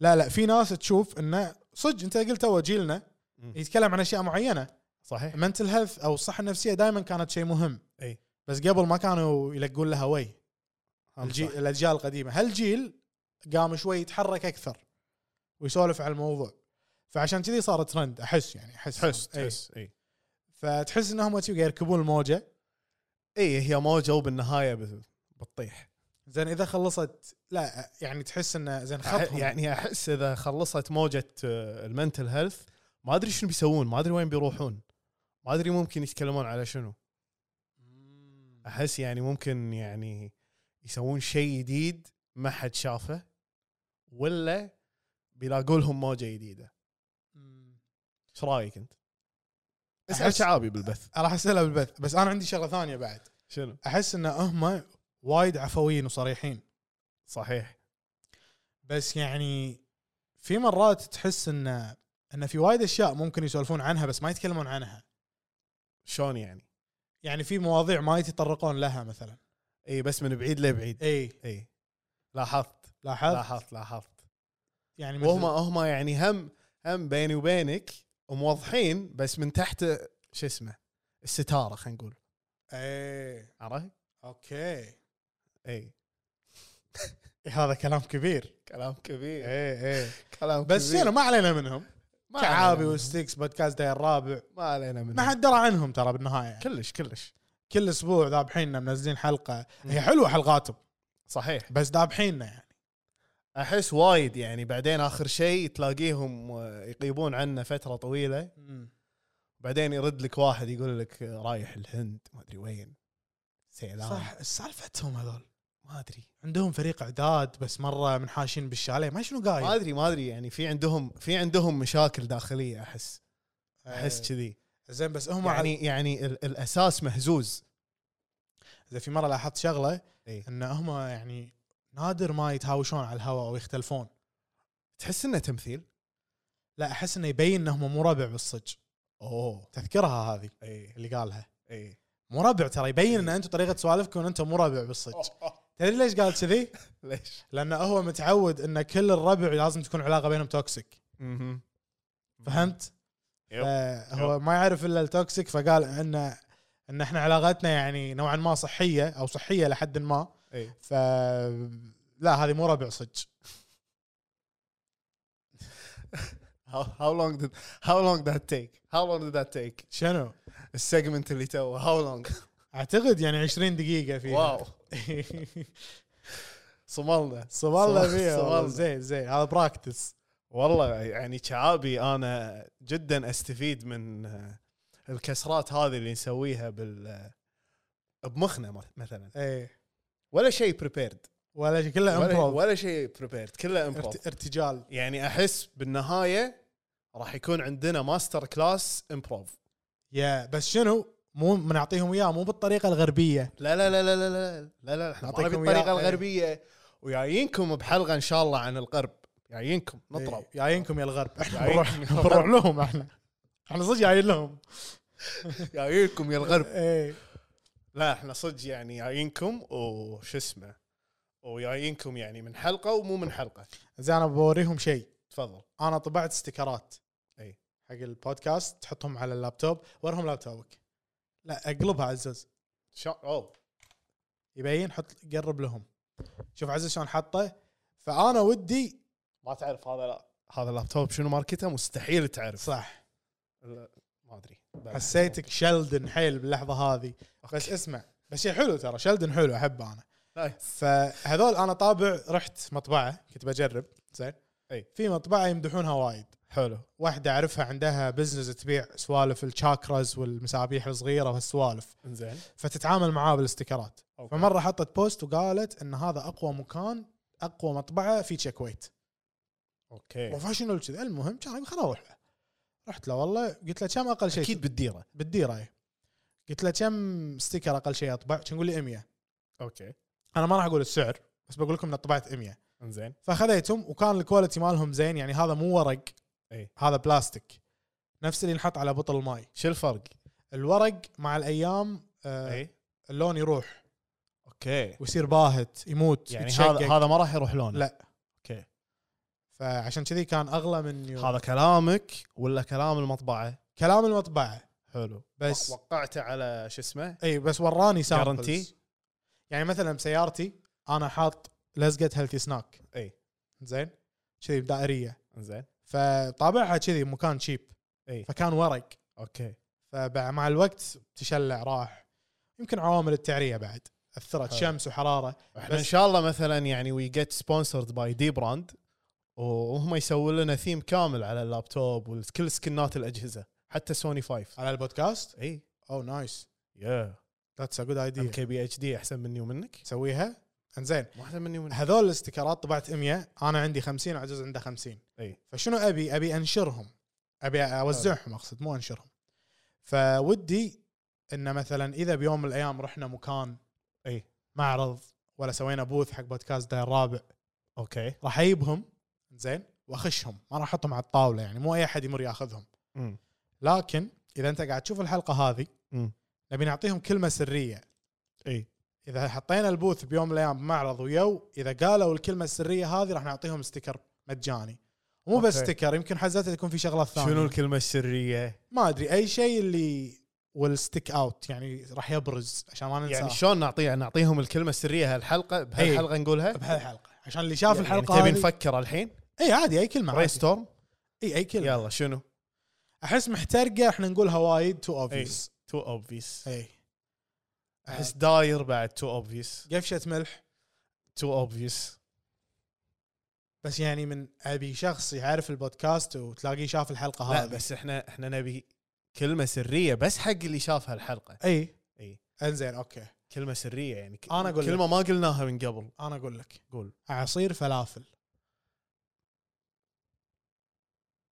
B: لا لا في ناس تشوف انه صدق انت قلت هو جيلنا
C: مم.
B: يتكلم عن اشياء معينه
C: صحيح
B: منتل هيلث او الصحه النفسيه دائما كانت شيء مهم
C: إي.
B: بس قبل ما كانوا يلقون لها وي
C: هم
B: الجي...
C: صح.
B: الاجيال القديمه هالجيل قام شوي يتحرك اكثر ويسولف على الموضوع فعشان كذي صار ترند احس يعني احس
C: تحس
B: إي.
C: تحس إيه. اي
B: فتحس انهم تي يركبون الموجه
C: اي إيه، هي موجه وبالنهايه بت- بتطيح
B: زين اذا خلصت لا يعني تحس انه زين خطهم يعني
C: يعني احس اذا خلصت موجه آه، المنتل هيلث ما ادري شنو بيسوون ما ادري وين بيروحون ما ادري ممكن يتكلمون على شنو احس يعني ممكن يعني يسوون شيء جديد ما حد شافه ولا بيلاقوا لهم موجه جديده ايش رايك انت؟ اسال
B: أحس-
C: شعابي بالبث
B: راح اسالها بالبث بس انا عندي شغله ثانيه بعد
C: شنو؟
B: احس ان هم وايد عفويين وصريحين
C: صحيح
B: بس يعني في مرات تحس ان ان في وايد اشياء ممكن يسولفون عنها بس ما يتكلمون عنها
C: شلون يعني؟
B: يعني في مواضيع ما يتطرقون لها مثلا
C: اي إيه، بس من بعيد لبعيد
B: اي
C: اي لاحظت
B: لاحظت
C: لاحظت لاحظت
B: يعني مثل
C: وهم هم يعني هم هم بيني وبينك موضحين بس من تحت شو اسمه الستاره خلينا نقول
B: اي
C: عرفت؟
B: اوكي
C: اي
B: إيه، هذا كلام كبير
C: كلام كبير
B: اي اي
C: كلام
B: بس
C: كبير.
B: يلا ما علينا منهم
C: إيه، ما
B: شعابي
C: علينا منه.
B: وستيكس بودكاست داير الرابع
C: ما علينا منه
B: ما حد درى عنهم ترى بالنهايه يعني.
C: كلش كلش
B: كل اسبوع ذابحيننا منزلين حلقه
C: مم.
B: هي حلوه حلقاتهم
C: صحيح
B: بس ذابحيننا يعني
C: احس وايد يعني بعدين اخر شيء تلاقيهم آه، يقيبون عنا فتره طويله بعدين يرد لك واحد يقول لك آه، رايح الهند ما ادري وين سيلان صح
B: صح سالفتهم هذول
C: ما ادري
B: عندهم فريق اعداد بس مره منحاشين بالشاليه ما شنو
C: ما
B: قايل
C: ادري ما ادري يعني في عندهم في عندهم مشاكل داخليه احس احس
B: إيه.
C: كذي
B: زين بس هم يعني
C: يعني يعني ال- الاساس مهزوز
B: زين في مره لاحظت شغله
C: إيه.
B: ان هم يعني نادر ما يتهاوشون على الهواء او يختلفون
C: تحس انه تمثيل
B: لا احس انه يبين انهم مو ربع بالصج
C: اوه
B: تذكرها هذه
C: اي
B: اللي قالها
C: اي
B: مو ربع ترى يبين
C: إيه.
B: ان انتم طريقه سوالفكم ان انتم مو ربع بالصج تدري ليش قال كذي؟
C: ليش؟
B: لانه هو متعود ان كل الربع لازم تكون علاقه بينهم توكسيك فهمت؟
C: يب.
B: آه، هو ما يعرف الا التوكسيك فقال ان ان احنا علاقتنا يعني نوعا ما صحيه او صحيه لحد ما
C: اي
B: ف لا هذه مو ربع صج
C: How- how long did how long that take how long did that take
B: شنو؟
C: السيجمنت اللي توه how long
B: اعتقد يعني 20 دقيقه فيها
C: واو صملنا
B: صوالة فيها والله.
C: صوالة.
B: زين زين هذا براكتس
C: والله يعني شعابي انا جدا استفيد من آه، الكسرات هذه اللي نسويها بال آه، بمخنا مث- مثلا
B: اي
C: ولا شيء بريبيرد
B: إيه. ولا شيء كله
C: ولا,
B: امبروف
C: ولا شيء بريبيرد كله امبروف
B: ارت- ارتجال
C: يعني احس بالنهايه راح يكون عندنا ماستر كلاس امبروف
B: يا بس شنو مو بنعطيهم اياه مو بالطريقه الغربيه
C: لا لا لا لا لا لا لا لا احنا ما نبي
B: نعطيكم إيه.
C: الطريقه
B: إياه.
C: الغربيه وجايينكم بحلقه ان شاء الله عن الغرب جايينكم نطرب
B: نطرب إيه. جايينكم يا الغرب احنا
C: جايين-
B: بنروح بنروح لهم احنا احنا صدق جايين لهم إيه.
C: جايينكم يا الغرب
B: اي
C: لا احنا صدق يعني جايينكم وش اسمه وجايينكم يعني من حلقه ومو من حلقه
B: زين انا بوريهم شيء
C: تفضل
B: انا طبعت استيكرات
C: أي.
B: حق البودكاست تحطهم على اللابتوب ورهم لابتوبك لا اقلبها عزوز
C: شا... اوه
B: يبين حط قرب لهم شوف عزوز شلون حطه فانا ودي
C: ما تعرف هذا لا هذا اللابتوب شنو ماركته مستحيل تعرف
B: صح
C: لا، ما ادري
B: حسيتك شلدن حيل باللحظه هذه بس اسمع بس شيء حلو ترى شلدن حلو احبه انا
C: نايس.
B: فهذول انا طابع رحت مطبعه كنت بجرب زين
C: أي.
B: في مطبعه يمدحونها وايد
C: حلو
B: واحده اعرفها عندها بزنس تبيع سوالف الشاكرز والمسابيح الصغيره وهالسوالف
C: انزين
B: فتتعامل معاه بالاستيكرات
C: أوكي.
B: فمره حطت بوست وقالت ان هذا اقوى مكان اقوى مطبعه في تشيكويت
C: اوكي إيه.
B: بروفيشنال كذا المهم كان أقول خليني اروح له رحت له والله قلت له كم اقل شيء
C: اكيد بالديره
B: بالديره هي. قلت له كم ستيكر اقل شيء اطبع كان يقول لي 100
C: اوكي
B: انا ما راح اقول السعر بس بقول لكم ان طبعت 100
C: انزين
B: فخذيتهم وكان الكواليتي مالهم زين يعني هذا مو ورق
C: اي
B: هذا بلاستيك نفس اللي ينحط على بطل الماي
C: شو الفرق؟
B: الورق مع الايام آه
C: اي
B: اللون يروح
C: اوكي
B: ويصير باهت يموت
C: يعني
B: يتشقق.
C: هذا هذا ما راح يروح لونه
B: لا.
C: اوكي
B: فعشان كذي كان اغلى من يو.
C: هذا كلامك ولا كلام المطبعه؟
B: كلام المطبعه
C: حلو
B: بس
C: وقعته على شو اسمه؟
B: اي بس وراني
C: Guarantee؟
B: سامبلز يعني مثلا بسيارتي انا حاط لزقه هيلثي سناك
C: اي.
B: زين كذي دائريه
C: انزين
B: فطابعها كذي مكان شيب
C: اي.
B: فكان ورق
C: اوكي
B: فمع الوقت تشلع راح يمكن عوامل التعريه بعد اثرت
C: حلو.
B: شمس وحراره
C: احنا
B: بس-
C: ان شاء الله مثلا يعني وي جيت سبونسرد باي دي براند وهم يسوون لنا ثيم كامل على اللابتوب وكل سكنات الاجهزه حتى سوني 5
B: على البودكاست
C: اي
B: او نايس
C: يا
B: ذاتس ا جود
C: ام
B: ايديا
C: كي بي اتش دي احسن مني ومنك
B: تسويها انزين
C: مو احسن مني ومنك
B: هذول الاستيكرات طبعت 100 انا عندي 50 وعجوز عنده 50
C: اي
B: فشنو ابي؟ ابي انشرهم ابي اوزعهم اقصد مو انشرهم فودي انه مثلا اذا بيوم من الايام رحنا مكان
C: اي
B: معرض ولا سوينا بوث حق بودكاست ده الرابع
C: اوكي
B: راح اجيبهم زين واخشهم ما راح احطهم على الطاوله يعني مو اي احد يمر ياخذهم
C: امم
B: لكن اذا انت قاعد تشوف الحلقه هذه
C: أمم.
B: نبي نعطيهم كلمه سريه
C: اي
B: اذا حطينا البوث بيوم من الايام بمعرض ويو اذا قالوا الكلمه السريه هذه راح نعطيهم ستيكر مجاني مو بس
C: أوكي.
B: ستيكر يمكن حزتها يكون في شغلات ثانيه
C: شنو الكلمه السريه؟
B: ما ادري اي شيء اللي والستيك اوت يعني راح يبرز عشان ما ننسى
C: يعني شلون نعطيه نعطيهم الكلمه السريه هالحلقه بهالحلقه نقولها؟
B: بهالحلقه عشان اللي شاف
C: يعني
B: الحلقه
C: تبي
B: هذه-
C: نفكر الحين؟
B: اي عادي اي كلمه
C: برين
B: عادي.
C: ستورم؟
B: اي اي كلمه
C: يلا شنو؟
B: احس محترقه احنا نقولها وايد تو اوبفيس
C: تو اوبفيس
B: اي
C: احس داير بعد تو اوبفيس
B: قفشه ملح
C: تو اوبفيس
B: بس يعني من ابي شخص يعرف البودكاست وتلاقيه شاف الحلقه
C: لا
B: هذه
C: بس احنا احنا نبي كلمه سريه بس حق اللي شاف هالحلقه
B: اي
C: اي
B: انزين اوكي
C: كلمه سريه يعني ك-
B: أنا أقول
C: كلمه ما قلناها من قبل
B: انا اقول لك
C: قول
B: عصير فلافل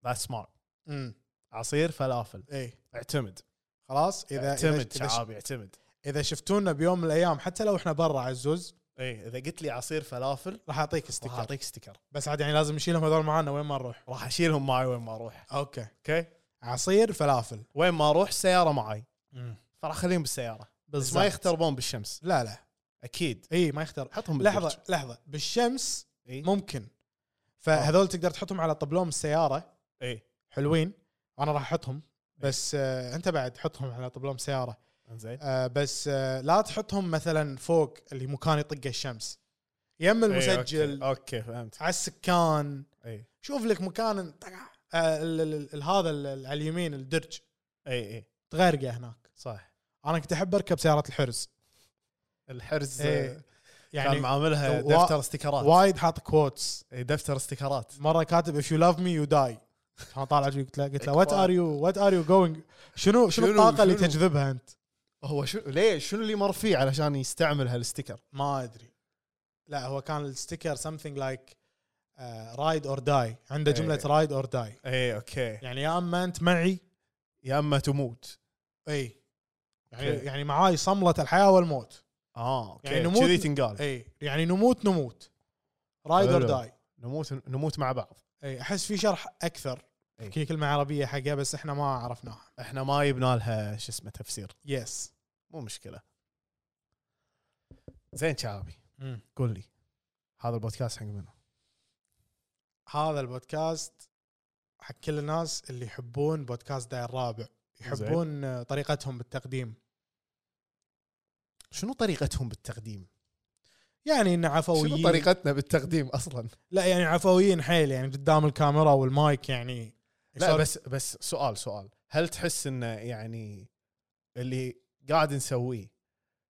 C: ذاتس سمارت
B: امم
C: عصير فلافل
B: اي
C: اعتمد
B: خلاص اذا إذا-
C: اعتمد
B: اذا,
C: شعابي اعتمد
B: إذا شفتونا بيوم من الايام حتى لو احنا برا عزوز
C: اي اذا إيه، قلت لي عصير فلافل
B: راح اعطيك
C: راح
B: استيكر
C: اعطيك ستيكر
B: بس عاد يعني لازم نشيلهم هذول معانا وين ما نروح
C: راح اشيلهم معي وين ما اروح
B: اوكي
C: اوكي
B: عصير فلافل
C: وين ما اروح السياره معي فراح اخليهم بالسياره بس ما
B: بالضبط.
C: يختربون بالشمس
B: لا لا
C: اكيد
B: اي ما يختار
C: حطهم بالثلج.
B: لحظه لحظه بالشمس
C: اي
B: ممكن فهذول تقدر تحطهم على طبلوم السياره
C: اي
B: حلوين وانا راح احطهم بس آه انت بعد حطهم على طبلوم سياره
C: انزين
B: آه بس آه لا تحطهم مثلا فوق اللي مكان يطق الشمس يم المسجل
C: إي، اوكي إيه، أيوة، أوكي، فهمت
B: على السكان
C: اي
B: شوف لك مكان طقع. آه ال- ال- ال- هذا ال- ال- على اليمين الدرج
C: اي اي
B: تغرقه هناك
C: صح
B: انا كنت احب اركب سيارات الحرز
C: الحرز
B: إي.
C: آه، كان
B: يعني
C: معاملها
B: و-
C: دفتر استيكرات
B: وايد حاط كوتس
C: إي، دفتر استيكرات
B: مره كاتب if you love me you die كان طالع عجيب، قلت له قلت له
C: إكبار.
B: what are you what are you going شنو شنو
C: شنو-
B: الطاقه اللي
C: شنو؟
B: تجذبها انت؟
C: هو شو ليه شنو اللي مر فيه علشان يستعمل هالستيكر
B: ما ادري لا هو كان الستيكر something like uh, رايد اور داي عنده
C: إيه.
B: جمله رايد اور داي
C: اي اوكي
B: يعني يا اما انت معي
C: إيه، يا اما تموت
B: اي يعني
C: أوكي.
B: يعني معاي صمله الحياه والموت
C: اه اوكي
B: يعني
C: يعني
B: نموت-
C: كذي تنقال
B: اي يعني نموت نموت رايد اور
C: حلو.
B: داي
C: نموت نموت مع بعض
B: اي احس إيه. في شرح اكثر
C: إي.
B: في كلمه عربيه حقها بس احنا ما عرفناها
C: احنا ما جبنا لها شو اسمه تفسير
B: يس
C: مو مشكله زين شعبي قول لي هذا البودكاست حق منو؟
B: هذا البودكاست حق كل الناس اللي يحبون بودكاست داير الرابع يحبون آه، طريقتهم بالتقديم
C: شنو طريقتهم بالتقديم؟
B: يعني انه عفويين
C: شنو طريقتنا بالتقديم اصلا؟
B: لا يعني عفويين حيل يعني قدام الكاميرا والمايك يعني
C: لا
B: يصير-
C: بس بس سؤال سؤال هل تحس انه يعني اللي قاعد نسويه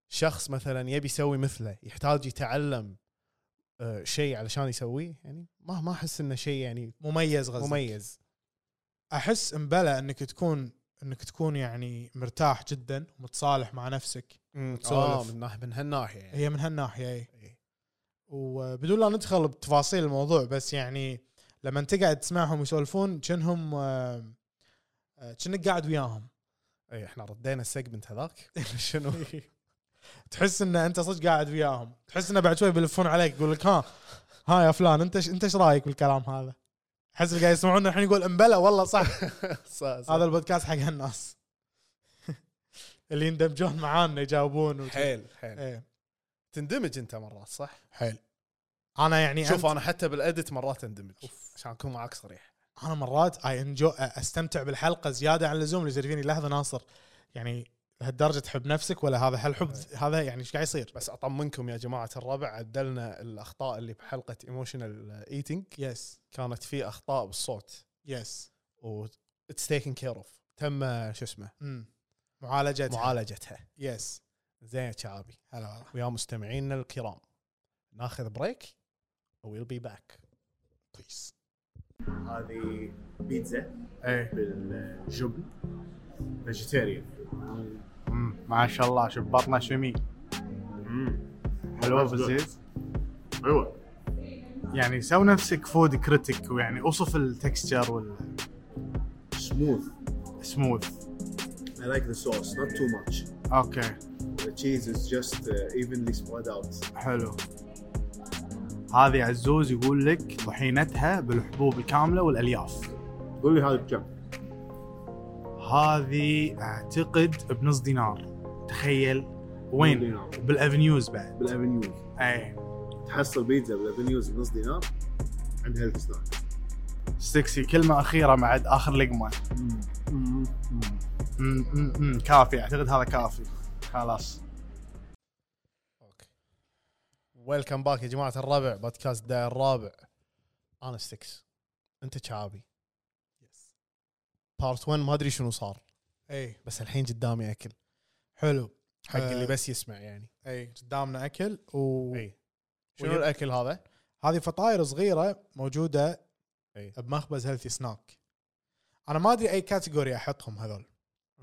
C: شخص مثلا يبي يسوي مثله يحتاج يتعلم آه، شيء علشان يسويه يعني ما ما احس انه شيء يعني
B: مميز غزة مميز.
C: مميز
B: احس امبلا انك تكون انك تكون يعني مرتاح جدا ومتصالح مع نفسك
C: اه
B: تسولف. إيه.
C: من ناحيه من هالناحيه يعني
B: هي من هالناحيه اي
C: إي.
B: وبدون لا ندخل بتفاصيل الموضوع بس يعني لما تقعد تسمعهم يسولفون كأنهم آه، آه، كأنك قاعد وياهم
C: اي احنا إيه، ردينا السيجمنت هذاك شنو
B: تحس ان انت صدق قاعد وياهم تحس انه بعد شوي بيلفون عليك يقول لك ها ها يا فلان انت ش... انت ايش رايك بالكلام هذا؟ احس اللي قاعد يسمعونا الحين يقول امبلا والله صح
C: صح صح.
B: هذا البودكاست حق هالناس اللي يندمجون معانا يجاوبون وت-
C: حيل حيل
B: ايه
C: تندمج انت مرات صح؟
B: حيل انا يعني
C: شوف
B: شوف
C: انا حتى بالاديت مرات اندمج عشان اكون معاك صريح
B: انا مرات اي انجو استمتع بالحلقه زياده عن اللزوم اللي يصير فيني لحظه ناصر يعني لهالدرجه تحب نفسك ولا هذا هالحب هذا يعني ايش قاعد يصير؟
C: إيه. بس اطمنكم يا جماعه الربع عدلنا الاخطاء اللي بحلقه ايموشنال ايتنج
B: يس
C: كانت في اخطاء بالصوت
B: يس
C: و اتس تيكن كير اوف تم شو اسمه
B: امم معالجتها
C: معالجتها
B: يس
C: زين يا شعابي
B: هلا والله
C: ويا مستمعينا الكرام ناخذ بريك ويل بي باك
B: بيس
D: هذه بيتزا
E: ايه
D: بالجبن فيجيتيريان
E: أمم، ما شاء الله شوف بطنه شمي حلوه بالزيت
D: ايوه
E: يعني سو نفسك يعني فود كريتيك ويعني اوصف التكستشر
D: سموث
E: والسموث
D: I like the sauce, not too much.
E: اوكي
D: The cheese is just uh, evenly spread out.
E: حلو هذه عزوز يقول لك طحينتها بالحبوب الكامله والالياف
D: قول لي هذا بكم؟
E: هذه اعتقد بنص دينار تخيل وين
D: دينار.
E: بالافنيوز بعد إيه.
D: بالافنيوز
E: اي
D: تحصل بيتزا بالافنيوز بنص دينار عند هيلث سناك
E: سكسي كلمه اخيره مع اخر لقمه أمم، أمم، أمم، كافي اعتقد هذا كافي خلاص
C: اوكي ويلكم باك يا جماعه الربع بودكاست داير الرابع انا 6 انت شعابي بارت 1 ما ادري شنو صار
E: إيه.
B: اي
C: بس الحين قدامي اكل
B: حلو
C: حق
B: آه.
C: اللي بس يسمع يعني
B: اي قدامنا اكل و
C: اي شنو
B: ويب-
C: الاكل هذا؟
B: هذه فطاير صغيره موجوده
C: أي.
B: بمخبز هيلثي سناك انا ما ادري اي كاتيجوري احطهم هذول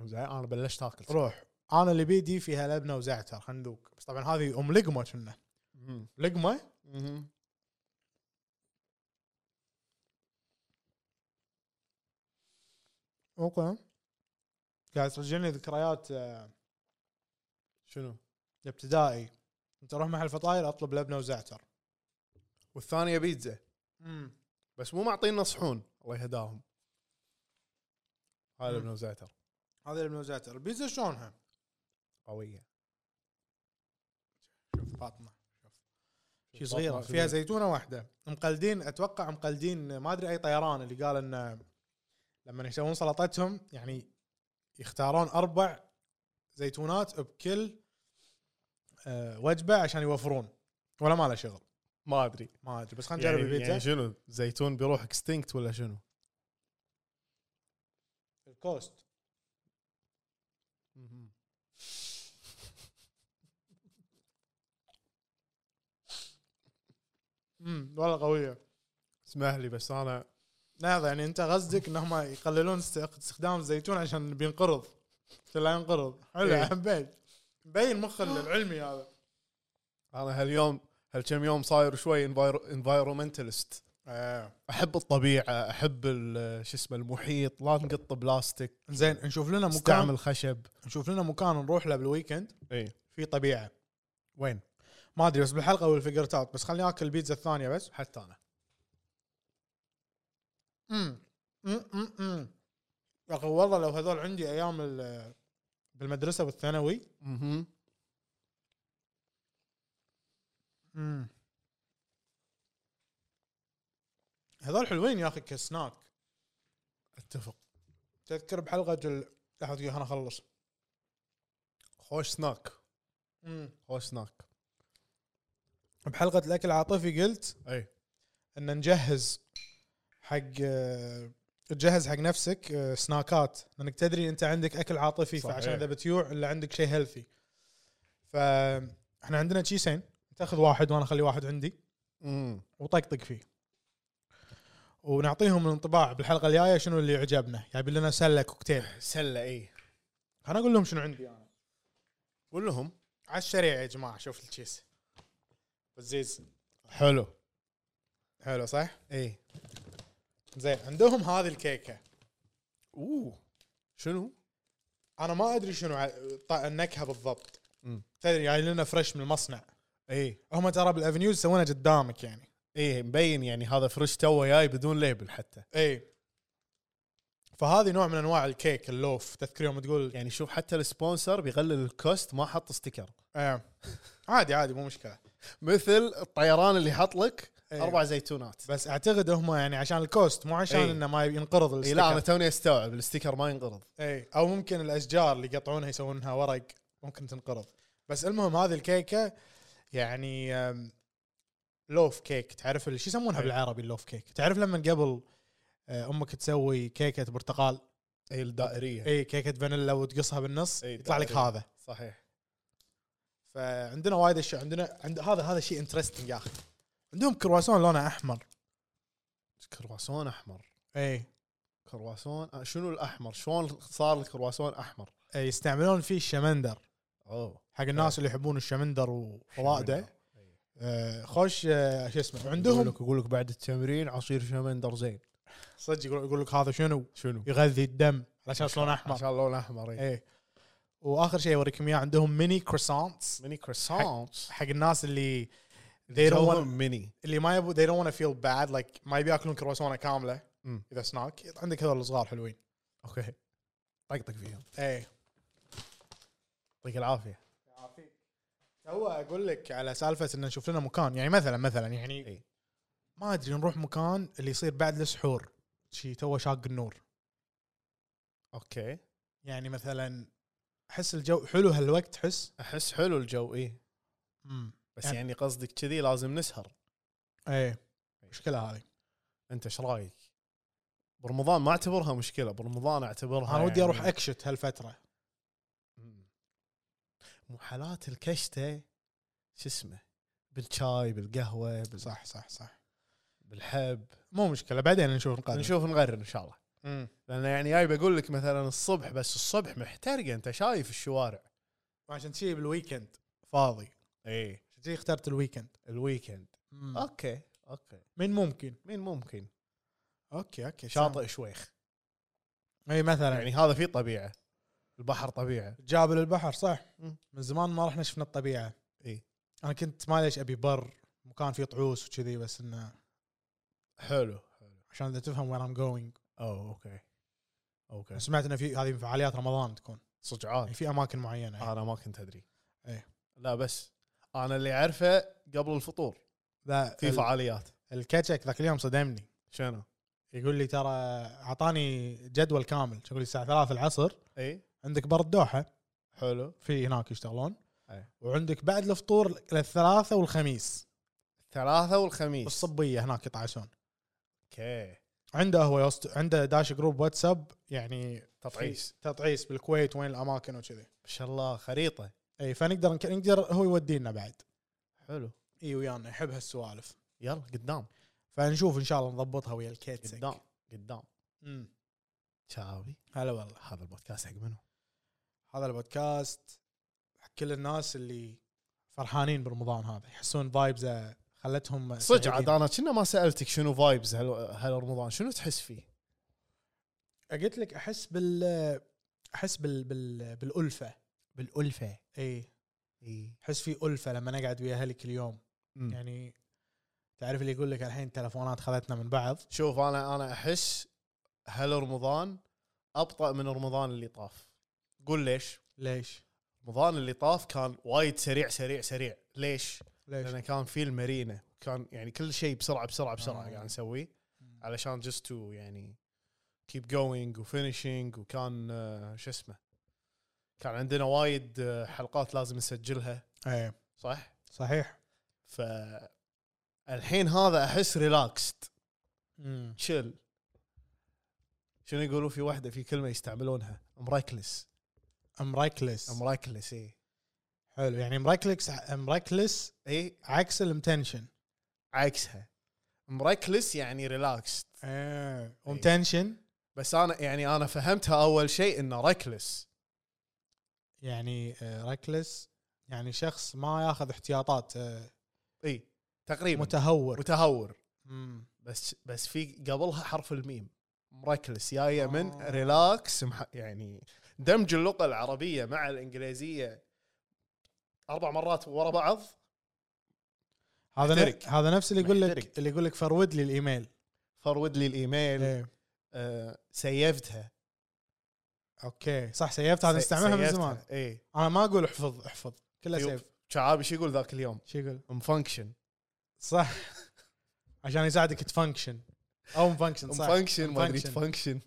C: زين انا بلشت اكل
B: روح انا اللي بيدي فيها لبنه وزعتر خلينا نذوق بس طبعا هذه ام لقمه كنا
C: مم.
B: لقمه
C: مم.
B: اوكي قاعد ترجعني ذكريات آه،
C: شنو؟
B: الابتدائي انت روح محل فطاير اطلب لبنه وزعتر
C: والثانيه بيتزا بس مو معطينا صحون الله يهداهم هذا
B: مم.
C: ابن وزعتر
B: هذه لبنه وزعتر البيتزا شلونها؟
C: قويه
B: شوف فاطمه شي صغيره فيها
C: زي
B: زيتونه واحده مقلدين اتوقع مقلدين ما ادري اي طيران اللي قال انه لما يسوون سلطتهم يعني يختارون اربع زيتونات بكل آه، وجبه عشان يوفرون ولا ما له شغل
C: ما ادري
B: ما ادري بس خلينا نجرب
C: يعني- يعني
B: البيتزا
C: شنو زيتون بيروح اكستنكت ولا شنو؟
B: الكوست امم والله قويه
C: اسمح لي بس انا
B: لحظه يعني انت قصدك انهم يقللون است- استخدام الزيتون عشان بينقرض عشان لا ينقرض حلو
C: إيه.
B: حبيت مبين مخ العلمي هذا
C: انا هاليوم هالكم يوم صاير شوي انفايرومنتالست احب الطبيعه احب ال- شو اسمه المحيط لا نقط بلاستيك
B: زين نشوف لنا مكان
C: نستعمل خشب
B: نشوف لنا مكان نروح له بالويكند
C: اي
B: في طبيعه
C: وين
B: ما ادري بس بالحلقه والفيجرت اوت بس خليني اكل البيتزا الثانيه بس
C: حتى انا
B: امم أمم، أمم، أمم. يا اخي والله لو هذول عندي ايام ال- بالمدرسه والثانوي
C: مهم.
B: امم هذول حلوين يا اخي كسناك
C: اتفق
B: تذكر بحلقه ال... لحظه دقيقة، خلنا اخلص
C: خوش سناك
B: امم
C: خوش سناك
B: بحلقه الاكل العاطفي قلت
C: اي
B: ان نجهز حق آه، تجهز حق نفسك آه، سناكات لانك تدري انت عندك اكل عاطفي
C: صحيح.
B: فعشان اذا بتيوع الا عندك شيء هيلثي فاحنا عندنا تشيسين تاخذ واحد وانا اخلي واحد عندي
C: امم
B: وطقطق فيه ونعطيهم الانطباع بالحلقه الجايه شنو اللي عجبنا جايبين لنا سله كوكتيل
C: سله اي
B: انا اقول لهم شنو عندي انا
C: إيه. قول لهم
B: على السريع يا جماعه شوف التشيس بزيز
C: حلو
B: حلو صح
C: اي
B: زين عندهم هذه الكيكه
C: اوه شنو؟
B: انا ما ادري شنو ع- ط- النكهه بالضبط
C: مم. إيه.
B: تدري جاي لنا فريش من المصنع
C: اي
B: هم ترى بالافنيوز يسوونها قدامك يعني
C: اي مبين يعني هذا فريش تو جاي بدون ليبل حتى
B: اي إيه. فهذه نوع من انواع الكيك اللوف تذكر يوم تقول
C: يعني شوف حتى السبونسر بيقلل الكوست ما حط ستيكر
B: آه. عادي عادي مو مشكله
C: مثل الطيران اللي حط لك
B: أيوة.
C: اربع زيتونات
B: بس اعتقد هم يعني عشان الكوست مو عشان
C: إي.
B: انه ما ينقرض
C: اي
B: الاستيكر
C: إيه. لا انا توني استوعب الستيكر ما ينقرض
B: اي او ممكن الاشجار اللي يقطعونها يسوونها ورق ممكن تنقرض بس المهم هذه الكيكه يعني أم، لوف كيك تعرف ال- شو يسمونها
C: أي.
B: بالعربي اللوف كيك تعرف لما قبل آه، امك تسوي كيكه برتقال
C: اي الدائريه
B: اي كيكه فانيلا وتقصها بالنص
C: أي،
B: يطلع لك
C: تعرف.
B: هذا
C: صحيح
B: فعندنا وايد اشياء عندنا عند هذا هذا شيء انترستنج يا اخي عندهم كرواسون لونه احمر
C: كرواسون احمر
B: اي
C: كرواسون آه، شنو الاحمر شلون صار الكرواسون احمر
B: أي، يستعملون فيه الشمندر
C: اوه
B: حق الناس اللي يحبون الشمندر وفوائده آه، خوش آه، شو اسمه
C: عندهم
B: عندهم
C: يقول لك بعد التمرين عصير شمندر زين
B: صدق يقول يقول لك هذا شنو
C: شنو؟
B: يغذي الدم علشان شلون
C: ما
B: احمر
C: شاء الله لون احمر إيه.
B: ايه واخر شيء اوريكم اياه عندهم ميني كروسانتس
C: ميني كروسانت
B: حق الناس اللي they don't want
C: ميني
B: اللي ما يبوا they don't want to feel bad like ما يبي ياكلون كرواسونه كامله
C: مم.
B: اذا سناك عندك هذول الصغار حلوين
C: اوكي طقطق فيهم
B: ايه
C: يعطيك العافيه
B: تو اقول لك على سالفه ان نشوف لنا مكان يعني مثلا مثلا يعني
C: إي.
B: ما ادري نروح مكان اللي يصير بعد السحور شي تو شاق النور
C: اوكي
B: يعني مثلا احس الجو حلو هالوقت تحس
C: احس حلو الجو ايه
B: امم
C: بس
B: يعني-
C: يعني, قصدك كذي لازم نسهر
B: ايه
C: إيه.
B: مشكله هذه
C: انت ايش رايك؟ برمضان ما اعتبرها مشكله برمضان اعتبرها
B: انا ودي
C: يعني-
B: اروح اكشت هالفتره
C: مم. مو حالات الكشته شو اسمه بالشاي بالقهوه بال...
B: صح صح صح
C: بالحب
B: مو مشكله بعدين نشوف نقرر
C: نشوف نغرر ان شاء الله
B: مم.
C: لان يعني جاي بقول لك مثلا الصبح بس الصبح محترقه انت شايف الشوارع
B: عشان شي بالويكند فاضي
C: اي
B: عشان شي اخترت الويكند
C: الويكند
B: مم.
C: اوكي اوكي
B: من ممكن
C: مين ممكن
B: اوكي اوكي
C: شاطئ شويخ
B: اي مثلا
C: يعني هذا فيه طبيعه البحر طبيعه
B: جابل البحر صح
C: مم.
B: من زمان ما رحنا شفنا الطبيعه
C: إي.
B: انا كنت ما ليش ابي بر مكان فيه طعوس وكذي بس انه
C: حلو
B: عشان اذا تفهم وين ام جوينج
C: اوه اوكي اوكي
B: سمعت انه في هذه من فعاليات رمضان تكون
C: صجعات
B: يعني في اماكن معينه
C: انا ما كنت ادري
B: إيه.
C: لا بس انا اللي اعرفه قبل الفطور
B: لا
C: في
B: ال-
C: فعاليات
B: الكتشك ذاك اليوم صدمني
C: شنو؟
B: يقول لي ترى اعطاني جدول كامل يقول لي الساعه 3 العصر
C: اي
B: عندك بر الدوحه
C: حلو
B: في هناك يشتغلون
C: أي.
B: وعندك بعد الفطور للثلاثه والخميس
C: ثلاثة والخميس
B: بالصبيه هناك يطعسون
C: اوكي
B: عنده هو يوست... عنده داش جروب واتساب يعني
C: تطعيس.
B: في- تطعيس بالكويت وين الاماكن وكذي
C: ما شاء الله خريطة
B: اي فنقدر نك- نقدر هو يودينا بعد
C: حلو
B: اي ويانا يحب هالسوالف
C: يلا قدام
B: فنشوف ان شاء الله نضبطها ويا الكيتسك
C: قدام قدام
B: قدام
C: شاوي
B: هلا والله
C: هذا البودكاست حق منو؟
B: هذا البودكاست حق كل الناس اللي فرحانين برمضان هذا يحسون فايبز خلتهم
C: صدق
B: سعيدين.
C: عاد انا كنا ما سالتك شنو فايبز هالرمضان شنو تحس فيه؟
B: قلت لك احس بال احس بال, بال... بالالفه
C: بالالفه
B: اي
C: اي
B: احس في الفه لما نقعد ويا اهلي كل يوم يعني تعرف اللي يقول لك الحين تلفونات خذتنا من بعض
C: شوف انا انا احس هالرمضان ابطا من رمضان اللي طاف قول ليش؟
B: ليش؟
C: رمضان اللي طاف كان وايد سريع سريع سريع ليش؟
B: ليش؟
C: لان كان في المارينا كان يعني كل شيء بسرعه بسرعه بسرعه
B: آه.
C: قاعد نسويه علشان جست تو يعني كيب جوينج وفينشينج وكان آه، شو اسمه كان عندنا وايد آه، حلقات لازم نسجلها
B: اي
C: صح؟
B: إيه. صحيح
C: ف الحين هذا احس ريلاكست
B: مم.
C: تشيل شنو يقولوا في واحده في كلمه يستعملونها مراكلس
B: مرايكلس
C: مراكلس اي
B: حلو يعني مرايكلس مرايكلس
C: اي
B: عكس المتنشن
C: عكسها مراكلس يعني ريلاكست
B: ايه ومتنشن
C: بس انا يعني انا فهمتها اول شيء انه ركلس
B: يعني ركلس يعني شخص ما ياخذ احتياطات آه،
C: اي تقريبا
B: متهور
C: متهور
B: مم.
C: بس بس في قبلها حرف الميم مركلس جايه من
B: آه.
C: ريلاكس مح- يعني دمج اللغه العربيه مع الانجليزيه اربع مرات ورا بعض
B: هذا ن-
C: محترق.
B: هذا نفس اللي يقول
C: محترق.
B: لك اللي يقول لك فرود لي الايميل
C: فرود لي الايميل
B: إيه.
C: آه سيفتها
B: اوكي صح سيفتها هذا نستعملها من زمان
C: اي
B: انا ما اقول احفظ احفظ كلها سيف
C: شعابي شو يقول ذاك اليوم؟ "Um
B: شو يقول
C: مفانكشن
B: صح عشان يساعدك تفانكشن او مفانكشن صح
C: مفانكشن Um ما ادري
B: مفانكشن.
C: تفانكشن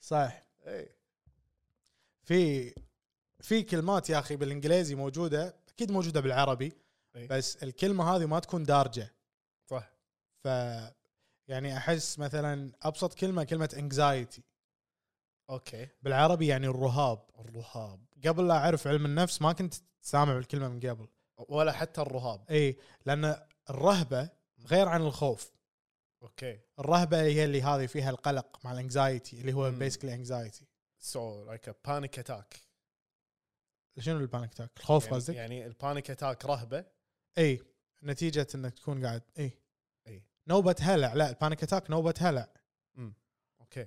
B: صح
C: إيه.
B: في في كلمات يا اخي بالانجليزي موجوده اكيد موجوده بالعربي
C: إي.
B: بس الكلمه هذه ما تكون دارجه
C: إيه. صح
B: ف يعني احس مثلا ابسط كلمه كلمه انكزايتي
C: اوكي
B: بالعربي يعني الرهاب الرهاب قبل لا اعرف علم النفس ما كنت سامع الكلمه من قبل
C: ولا حتى الرهاب
B: اي لان الرهبه غير عن الخوف
C: اوكي
B: الرهبه هي اللي هذه فيها القلق مع الانكزايتي اللي هو
C: مم.
B: بيسكلي انكزايتي
C: سو لايك ا بانيك اتاك
B: شنو البانيك تاك الخوف
C: يعني,
B: قصدك
C: يعني البانيك اتاك رهبه
B: اي نتيجه انك تكون قاعد اي
C: إي.
B: نوبه هلع لا البانيك اتاك نوبه هلع
C: اوكي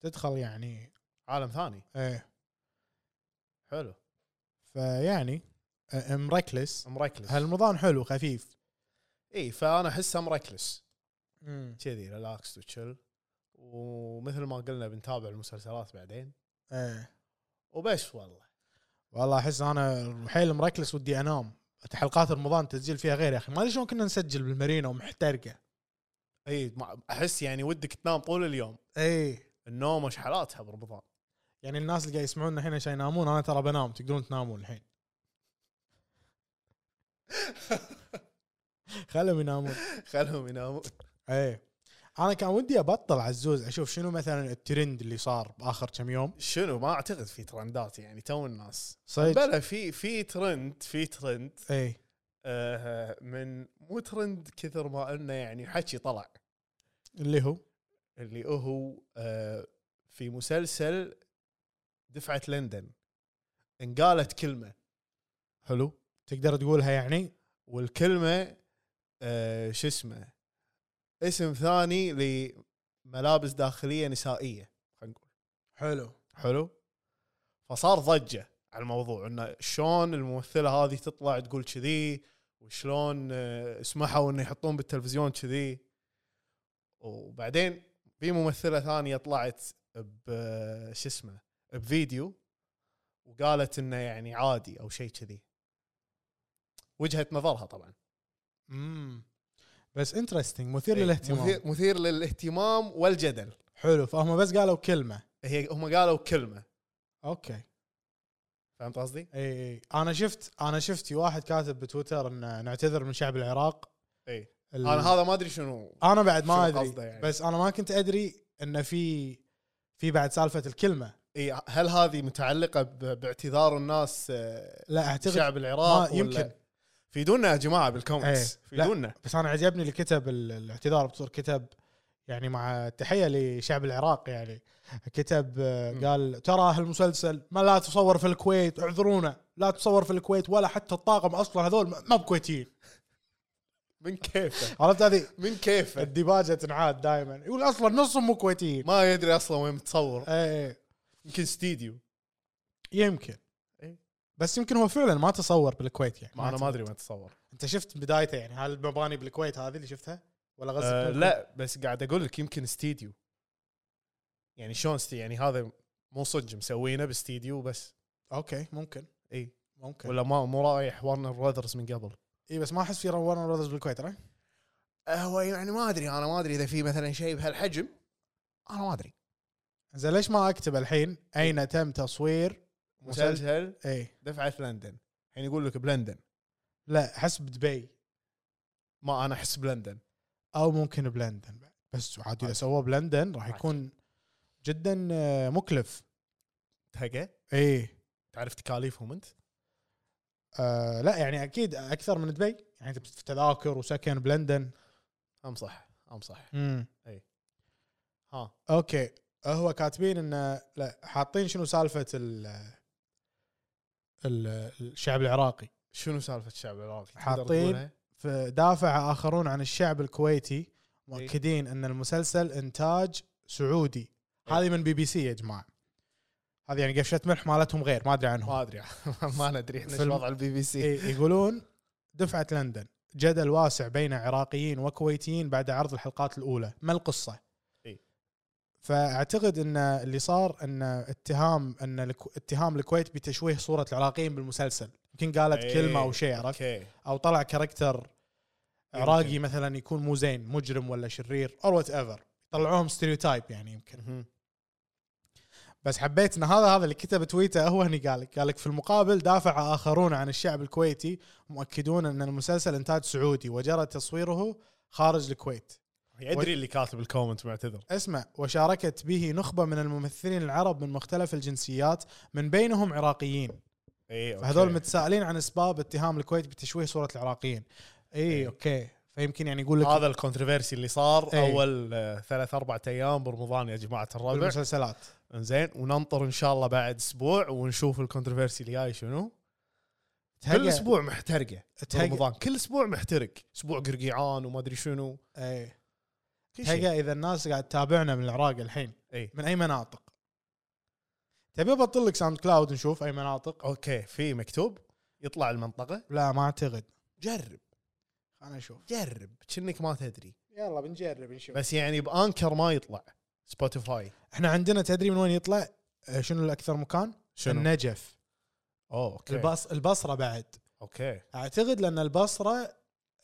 B: تدخل يعني
C: عالم ثاني
B: ايه
C: حلو
B: فيعني أ- مركلس
C: مركلس
B: هالمضان حلو خفيف
C: اي فانا احسه مركلس كذي ريلاكس وتشل ومثل ما قلنا بنتابع المسلسلات بعدين
B: ايه
C: وبس والله
B: والله احس انا حيل مركلس ودي انام حلقات رمضان تسجيل فيها غير يا اخي ما ادري شلون كنا نسجل بالمارينا ومحترقه
C: اي ما- احس يعني ودك تنام طول اليوم
B: اي
C: النوم وش حالاتها برمضان
B: إيه. يعني الناس اللي قاعد يسمعونا الحين عشان ينامون انا ترى بنام تقدرون تنامون الحين خلهم ينامون
C: خلهم ينامون
B: اي انا إيه. كان ودي ابطل عزوز اشوف شنو مثلا الترند اللي صار باخر كم يوم
C: شنو ما اعتقد في ترندات يعني تو الناس
B: صدق
C: بلا في في ترند في ترند
B: اي
C: آه من مو ترند كثر ما انه يعني حكي طلع
B: اللي هو
C: اللي هو آه في مسلسل دفعه لندن انقالت كلمه حلو
B: تقدر تقولها يعني
C: والكلمه آه شو اسمه اسم ثاني لملابس داخليه نسائيه خلينا نقول
B: حلو
C: حلو فصار ضجه على الموضوع انه شلون الممثله هذه تطلع تقول كذي وشلون آه، سمحوا انه يحطون بالتلفزيون كذي وبعدين في ممثله ثانيه طلعت ب آه، شو اسمه بفيديو وقالت انه يعني عادي او شيء كذي وجهه نظرها طبعا
B: امم بس انترستنج مثير للاهتمام
C: إيه، مثير, مثير للاهتمام والجدل
B: حلو فهم بس قالوا كلمه
C: هي هم قالوا كلمه
B: اوكي
C: فهمت قصدي؟
B: اي اي انا شفت انا شفت واحد كاتب بتويتر ان نعتذر من شعب العراق
C: اي
B: ال-
C: انا إيه. هذا ما ادري شنو
B: انا بعد
C: شنو
B: ما
C: قصده
B: ادري
C: يعني.
B: يعني. بس انا ما كنت ادري ان في في بعد سالفه الكلمه
C: اي إيه، هل هذه متعلقه ب- باعتذار الناس آه،
B: لا اعتقد
C: شعب العراق
B: ما يمكن.
C: ولا فيدونا يا جماعه بالكومنتس
B: إيه. لا.
C: فيدونا
B: بس انا عجبني اللي كتب ال- الاعتذار بصور كتب يعني مع تحيه لشعب العراق يعني كتب آه،
C: م.
B: قال ترى هالمسلسل ما لا تصور في الكويت اعذرونا لا تصور في الكويت ولا حتى الطاقم اصلا هذول ما- ما بكويتيين
C: من كيفه
B: عرفت هذه
C: من كيفه
B: الديباجه تنعاد دائما يقول اصلا نصهم مو كويتيين
C: ما يدري اصلا وين متصور
B: ايه إيه.
C: يمكن استديو
B: يمكن
C: إي.
B: بس يمكن هو فعلا ما تصور بالكويت يعني
C: إيه. ما انا ما
B: تصور.
C: ادري وين تصور
B: انت شفت بدايته يعني هل المباني بالكويت هذه اللي شفتها ولا غزه
C: أه
B: بالكويت؟
C: لا بس قاعد اقول لك يمكن استديو يعني شلون استي- يعني هذا مو صدق مسوينه باستديو بس
B: اوكي ممكن
C: اي
B: ممكن
C: ولا ما مو رايح ورنر براذرز من قبل
B: اي بس ما احس في ورنر براذرز بالكويت إيه؟ رأي؟
C: هو يعني ما ادري انا ما ادري اذا في مثلا شيء بهالحجم انا ما ادري
B: زين ليش ما اكتب الحين
C: إيه.
B: اين تم تصوير مسلسل
C: مسلسل
B: اي
C: دفعه لندن الحين يقول لك بلندن
B: لا احس بدبي
C: ما انا احس بلندن
B: او ممكن بلندن بعد. بس عاد اذا سووه بلندن راح
C: عادي.
B: يكون جدا آه، مكلف إيه.
C: تهقى
B: اي
C: تعرف تكاليفهم انت
B: آه لا يعني اكيد اكثر من دبي يعني في تذاكر وسكن بلندن
C: امصح امصح
B: امم
C: ها
B: اوكي هو كاتبين انه لا حاطين شنو سالفه ال ال- الشعب العراقي
C: شنو سالفه الشعب العراقي تقدر
B: حاطين-
C: تقولها؟
B: فدافع اخرون عن الشعب الكويتي مؤكدين ان المسلسل انتاج سعودي هذه من بي بي سي يا جماعه هذه يعني قفشه ملح مالتهم غير ما ادري عنهم
C: ما ادري ما ندري احنا ايش
B: فيلم-
C: وضع البي بي سي
B: إيه، يقولون دفعه لندن جدل واسع بين عراقيين وكويتيين بعد عرض الحلقات الاولى ما القصه
C: إيه.
B: فاعتقد ان اللي صار ان اتهام ان الك- اتهام الكويت بتشويه صوره العراقيين بالمسلسل يمكن قالت
C: إيه،
B: كلمه او شيء عرفت
C: اوكي
B: او طلع كاركتر
C: يمكن.
B: عراقي مثلا يكون مو زين مجرم ولا شرير او وات ايفر طلعوهم ستيريوتايب يعني يمكن
C: مهم.
B: بس حبيت ان هذا هذا اللي كتب تويته هو هني قالك قالك في المقابل دافع اخرون عن الشعب الكويتي مؤكدون ان المسلسل انتاج سعودي وجرى تصويره خارج الكويت
C: يدري اللي كاتب الكومنت معتذر
B: اسمع وشاركت به نخبه من الممثلين العرب من مختلف الجنسيات من بينهم عراقيين
C: اي إيه، أوكي.
B: فهذول متسائلين عن اسباب اتهام الكويت بتشويه صوره العراقيين اي
C: إيه.
B: اوكي فيمكن يعني يقول لك
C: هذا الكونتروفيرسي اللي صار
B: إيه.
C: اول آه، ثلاث اربع ايام برمضان يا جماعه الربع
B: المسلسلات
C: زين وننطر ان شاء الله بعد اسبوع ونشوف الكونتروفيرسي اللي جاي شنو كل
B: تهيأ-
C: اسبوع محترقه
B: تهيأ-
C: رمضان كل اسبوع محترق اسبوع قرقيعان وما ادري شنو
B: ايه
C: كل شيء. إيه.
B: تلقى اذا الناس قاعد تتابعنا من العراق الحين
C: إي.
B: من اي مناطق تبي ابطل لك ساوند كلاود نشوف اي مناطق
C: اوكي في مكتوب يطلع المنطقه
B: لا ما اعتقد
C: جرب
B: خلنا نشوف
C: جرب كأنك ما تدري
B: يلا بنجرب نشوف بس
C: بس يعني بانكر ما يطلع سبوتيفاي
B: احنا عندنا تدري من وين يطلع آه، شنو الاكثر مكان
C: شنو
B: النجف
C: اوه اوكي
B: البص البصره بعد
C: اوكي
B: اعتقد لان البصره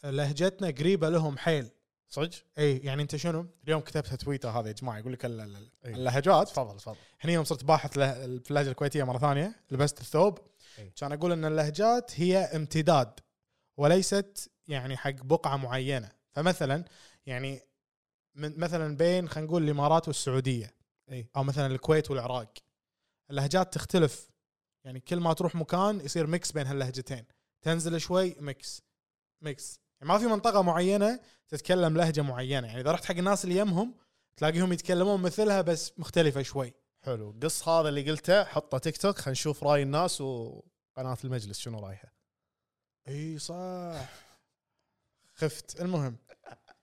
B: لهجتنا قريبه لهم حيل
C: صدق
B: اي يعني انت شنو اليوم كتبت تويتر هذا يا جماعه يقول لك ال- ال- ال-
C: إي.
B: اللهجات
C: إيه. تفضل تفضل
B: هني يوم صرت باحث له- في اللهجه الكويتيه مره ثانيه لبست الثوب
C: إي.
B: كان اقول ان اللهجات هي امتداد وليست يعني حق بقعه معينه فمثلا يعني من مثلا بين خلينا نقول الامارات والسعوديه
C: إي.
B: او مثلا الكويت والعراق اللهجات تختلف يعني كل ما تروح مكان يصير ميكس بين هاللهجتين تنزل شوي ميكس ميكس يعني ما في منطقه معينه تتكلم لهجه معينه يعني اذا رحت حق الناس اللي يمهم تلاقيهم يتكلمون مثلها بس مختلفه شوي
C: حلو قص هذا اللي قلته حطه تيك توك خلينا نشوف راي الناس وقناه المجلس شنو رايها
B: اي صح خفت المهم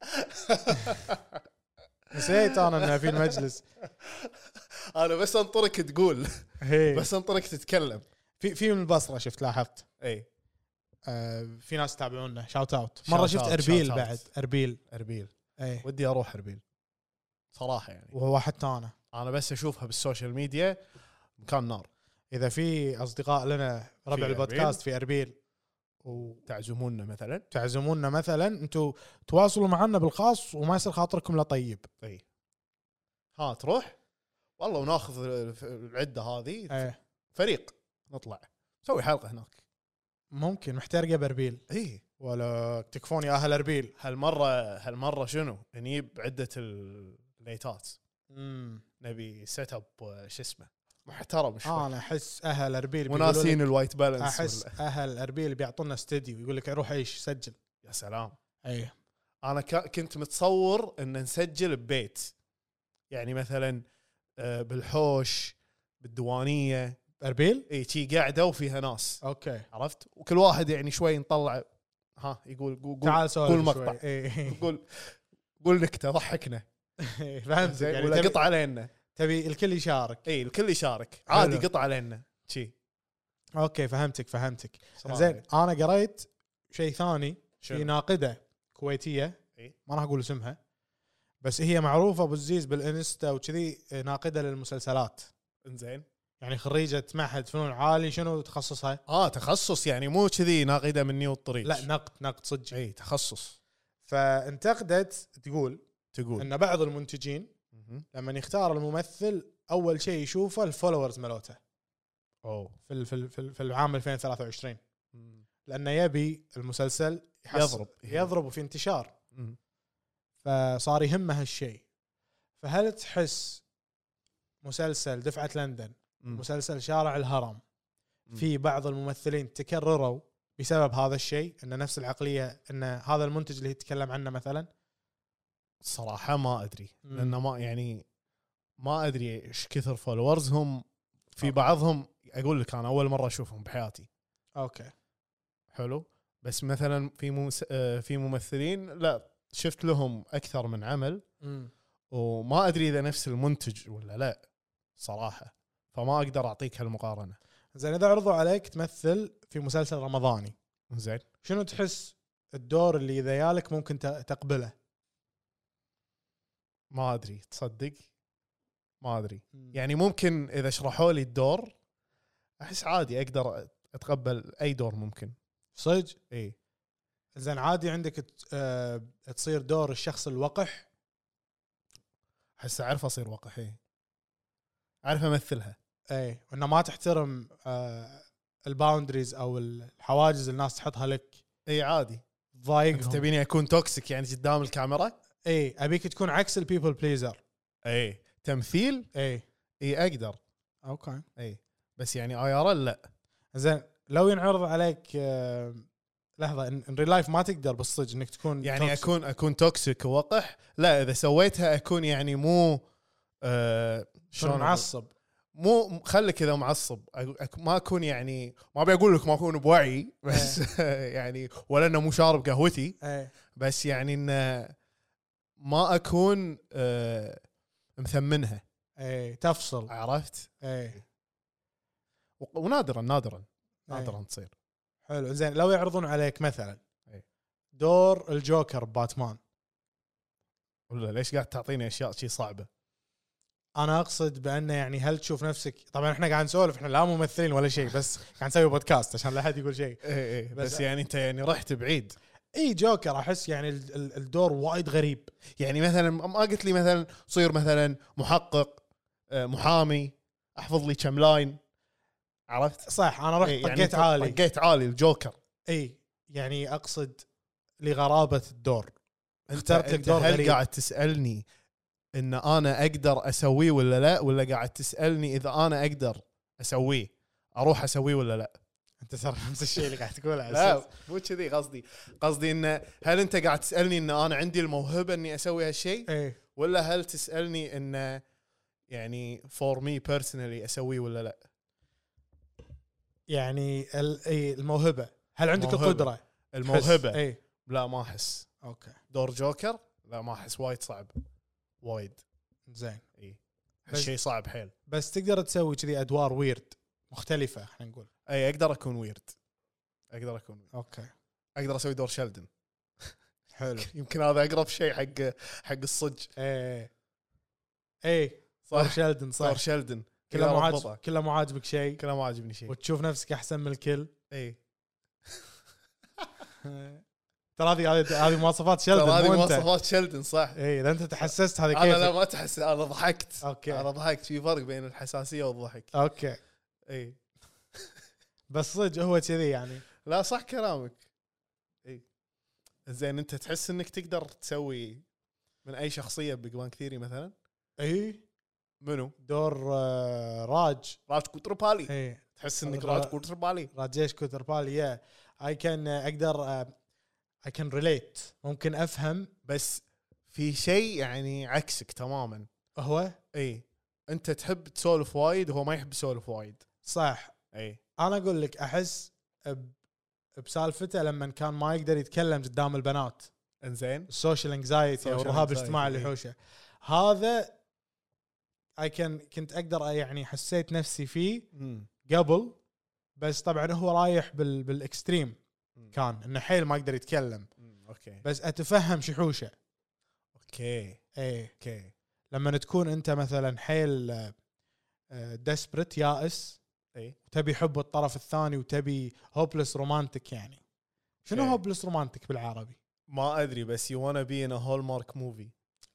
B: نسيت انا انه في المجلس
C: انا بس انطرك تقول
B: بس
C: بس انطرك تتكلم
B: في في من البصره شفت لاحظت
C: اي
B: آه في ناس تتابعونا شاوت اوت مره
C: Shout
B: شفت
C: out,
B: اربيل
C: shout out.
B: بعد اربيل
C: اربيل
B: اي
C: ودي اروح اربيل صراحه يعني
B: وهو حتى انا
C: انا بس اشوفها بالسوشيال ميديا مكان نار
B: اذا في اصدقاء لنا ربع
C: أربيل.
B: البودكاست في اربيل
C: تعزمونا مثلا
B: وتعزمونا مثلا انتم تواصلوا معنا بالخاص وما يصير خاطركم لا طيب
C: اي ها تروح والله وناخذ الف- العده هذه
B: ايه
C: فريق نطلع نسوي حلقه هناك
B: ممكن محترقه باربيل
C: اي
B: ولا تكفون يا اهل اربيل
C: هالمره هالمره شنو؟ نجيب عده الليتات
B: امم
C: نبي سيت اب شو اسمه
B: آه،
C: محترم شوي
B: انا احس اهل اربيل بيقولوا لك-
C: وناسين الوايت بالانس
B: احس
C: ولا-
B: اهل اربيل بيعطونا استديو يقول لك روح عيش سجل
C: يا سلام
B: اي
C: انا كا- كنت متصور ان نسجل ببيت يعني مثلا آه، بالحوش بالديوانيه
B: اربيل
C: اي شي قاعده وفيها ناس
B: اوكي
C: عرفت وكل واحد يعني شوي نطلع ها يقول قول قول-
B: تعال سولف إيه.
C: قول مقطع. إيه،
B: اي
C: قول قول نكته ضحكنا
B: فهمت
C: زين
B: يعني
C: ولا
B: تبي,
C: قطع علينا
B: تبي الكل يشارك
C: اي الكل يشارك عادي
B: حلو.
C: قطع علينا شي
B: اوكي فهمتك فهمتك
C: سلام
B: زين
C: عليكم.
B: انا قريت شيء ثاني في
C: شنو؟ إيه.
B: ناقده كويتيه
C: إي.
B: ما راح اقول اسمها بس هي معروفه ابو الزيز بالانستا وكذي ناقده للمسلسلات
C: انزين
B: يعني خريجه معهد فنون عالي شنو تخصصها؟
C: اه تخصص يعني مو كذي ناقده مني والطريق
B: لا نقد نقد صدق
C: اي تخصص
B: فانتقدت تقول
C: تقول
B: ان بعض المنتجين
C: مهم.
B: لما يختار الممثل اول شيء يشوفه الفولورز مالته
C: اوه
B: في ال- في ال- في ال- في العام 2023
C: مم.
B: لانه يبي المسلسل يحس-
C: يضرب.
B: يضرب وفي انتشار
C: مم.
B: فصار يهمه هالشيء فهل تحس مسلسل دفعه لندن
C: مم.
B: مسلسل شارع الهرم
C: مم.
B: في بعض الممثلين تكرروا بسبب هذا الشيء ان نفس العقليه ان هذا المنتج اللي يتكلم عنه مثلا
C: صراحه ما ادري
B: مم.
C: لانه ما يعني ما ادري ايش كثر فولورز هم في بعضهم اقول لك انا اول مره اشوفهم بحياتي
B: اوكي
C: حلو بس مثلا في ممس... آه، في ممثلين لا شفت لهم اكثر من عمل
B: امم
C: وما ادري اذا نفس المنتج ولا لا صراحه فما اقدر اعطيك هالمقارنه
B: زين اذا عرضوا عليك تمثل في مسلسل رمضاني
C: زين
B: شنو تحس الدور اللي اذا يالك ممكن ت- تقبله؟
C: ما ادري تصدق ما ادري يعني ممكن اذا شرحوا لي الدور احس عادي اقدر اتقبل اي دور ممكن
B: صدق؟
C: اي
B: زين عادي عندك ت- آه، تصير دور الشخص الوقح
C: احس اعرف اصير وقحي اعرف امثلها
B: اي انه إيه، ما تحترم آه، الباوندريز او الحواجز اللي الناس تحطها لك
C: اي عادي انت
B: تضايقهم
C: تبيني اكون توكسيك يعني قدام الكاميرا
B: اي ابيك إيه، تكون عكس البيبل بليزر
C: اي تمثيل
B: اي
C: اي اقدر
B: اوكي
C: اي بس يعني اي ار لا
B: زين لو ينعرض عليك آه، لحظه ان ريل لايف ما تقدر بالصدق انك تكون
C: يعني
B: توكسيك.
C: اكون اكون توكسيك ووقح لا اذا سويتها اكون يعني مو آه
B: تكون
C: أقول؟
B: معصب
C: مو خلك كذا معصب أك- أك- ما اكون يعني ما ابي اقول لك ما اكون بوعي بس
B: إيه.
C: يعني ولا انه مو شارب قهوتي
B: اي
C: بس يعني انه ما اكون آه، مثمنها
B: اي إيه، تفصل
C: عرفت؟
B: اي
C: و- ونادرا نادرا
B: إيه.
C: نادرا تصير
B: حلو زين لو يعرضون عليك مثلا
C: إي.
B: دور الجوكر باتمان
C: ولا ليش قاعد تعطيني اشياء شي صعبه؟
B: انا اقصد بانه يعني هل تشوف نفسك طبعا احنا قاعد نسولف احنا لا ممثلين ولا شيء بس قاعد نسوي بودكاست عشان لا احد يقول شيء
C: اي اي
B: إيه، بس-
C: بس يعني انت يعني رحت بعيد
B: اي جوكر احس يعني ال- ال- الدور وايد غريب
C: يعني مثلا ما قلت لي مثلا صير مثلا محقق آه، محامي احفظ لي كم لاين عرفت؟
B: صح انا رحت
C: إي، يعني
B: طقيت
C: أنت
B: عالي
C: طقيت عالي الجوكر
B: اي يعني اقصد لغرابه الدور
C: أنت-
B: اخترت لك
C: أنت
B: دور
C: هل
B: غريب.
C: قاعد تسالني ان انا اقدر اسويه ولا لا ولا قاعد تسالني اذا انا اقدر اسويه اروح اسويه ولا لا
B: انت ترى نفس الشيء اللي قاعد تقوله على
C: لا
B: أساس.
C: مو كذي قصدي قصدي انه هل انت قاعد تسالني ان انا عندي الموهبه اني اسوي هالشيء
B: اي
C: ولا هل تسالني انه يعني فور مي بيرسونالي اسويه ولا لا
B: يعني ال- إي، الموهبه هل عندك إيه.
C: موهبة.
B: القدره
C: الموهبه
B: اي
C: لا ما احس
B: اوكي
C: دور جوكر لا ما احس وايد صعب وايد
B: زين
C: اي
B: بس-
C: هالشيء صعب حيل
B: بس تقدر تسوي كذي ادوار ويرد مختلفه خلينا نقول
C: اي اقدر اكون ويرد اقدر اكون ويرد.
B: اوكي
C: اقدر اسوي دور شلدن
B: حلو
C: يمكن هذا اقرب شيء حق حق الصج
B: اي اي صار
C: صح.
B: شلدن
C: دور
B: إيه. صح
C: شلدن
B: كله
C: أقدر
B: مو عاجب
C: أضبطه.
B: كله مو عاجبك شيء
C: كله ما عجبني شيء إيه.
B: وتشوف نفسك احسن من الكل
C: اي
B: ترى هذه هذه هذه مواصفات
C: ترى
B: شلدن
C: هذه
B: مو إيه، انت
C: مواصفات شلدن صح
B: اي اذا انت تحسست هذا
C: انا لا
B: كيف
C: ما تحس انا ضحكت
B: اوكي
C: انا ضحكت في فرق بين الحساسيه والضحك
B: اوكي
C: اي
B: بس صدق هو كذي يعني
C: لا صح كلامك اي زين انت تحس انك تقدر تسوي من اي شخصيه بيج بانك ثيري مثلا
B: اي
C: إيه. منو؟
B: دور آه، راج إيه،
C: راج كوتربالي
B: اي
C: تحس انك
B: را-
C: راج كوتربالي
B: راجيش كوتربالي يا اي كان اقدر اي كان ريليت ممكن افهم
C: بس في شيء يعني عكسك تماما
B: هو
C: اي انت تحب تسولف وايد وهو ما يحب يسولف وايد
B: صح
C: اي
B: انا اقول لك احس ب- بسالفته لما كان ما يقدر يتكلم قدام البنات
C: انزين
B: السوشيال انكزايتي او
C: Social
B: الرهاب
C: anxiety، إيه.
B: الاجتماعي اللي
C: إي.
B: حوشه هذا اي كان كنت اقدر يعني حسيت نفسي فيه قبل بس طبعا هو رايح بال بالاكستريم كان انه حيل ما يقدر يتكلم
C: اوكي
B: بس اتفهم شحوشه
C: اوكي
B: اي
C: اوكي
B: إيه، لما تكون انت مثلا حيل ديسبرت يائس
C: إي.
B: تبي حب الطرف الثاني وتبي هوبلس رومانتك يعني شنو
C: إي.
B: هوبلس رومانتك بالعربي؟
C: ما ادري بس يو وانا بي ان هول مارك موفي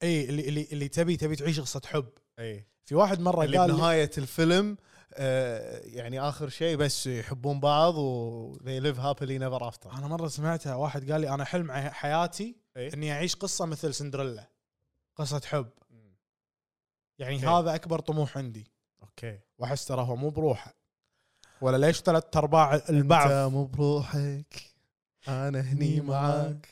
B: اي إيه، اللي اللي اللي تبي تبي تعيش قصه حب
C: اي
B: في واحد مره
C: اللي
B: طيب، قال لي-
C: بنهايه الفيلم آه يعني اخر شيء بس يحبون بعض و they live happily never after
B: انا مره سمعتها واحد قال لي انا حلم ع- حياتي
C: إيه؟
B: اني اعيش قصه مثل سندريلا قصه حب
C: مم.
B: يعني
C: أوكي.
B: هذا اكبر طموح عندي
C: اوكي
B: واحس ترى هو مو بروحه ولا ليش ثلاث ارباع البعض
C: انت مو بروحك انا هني معاك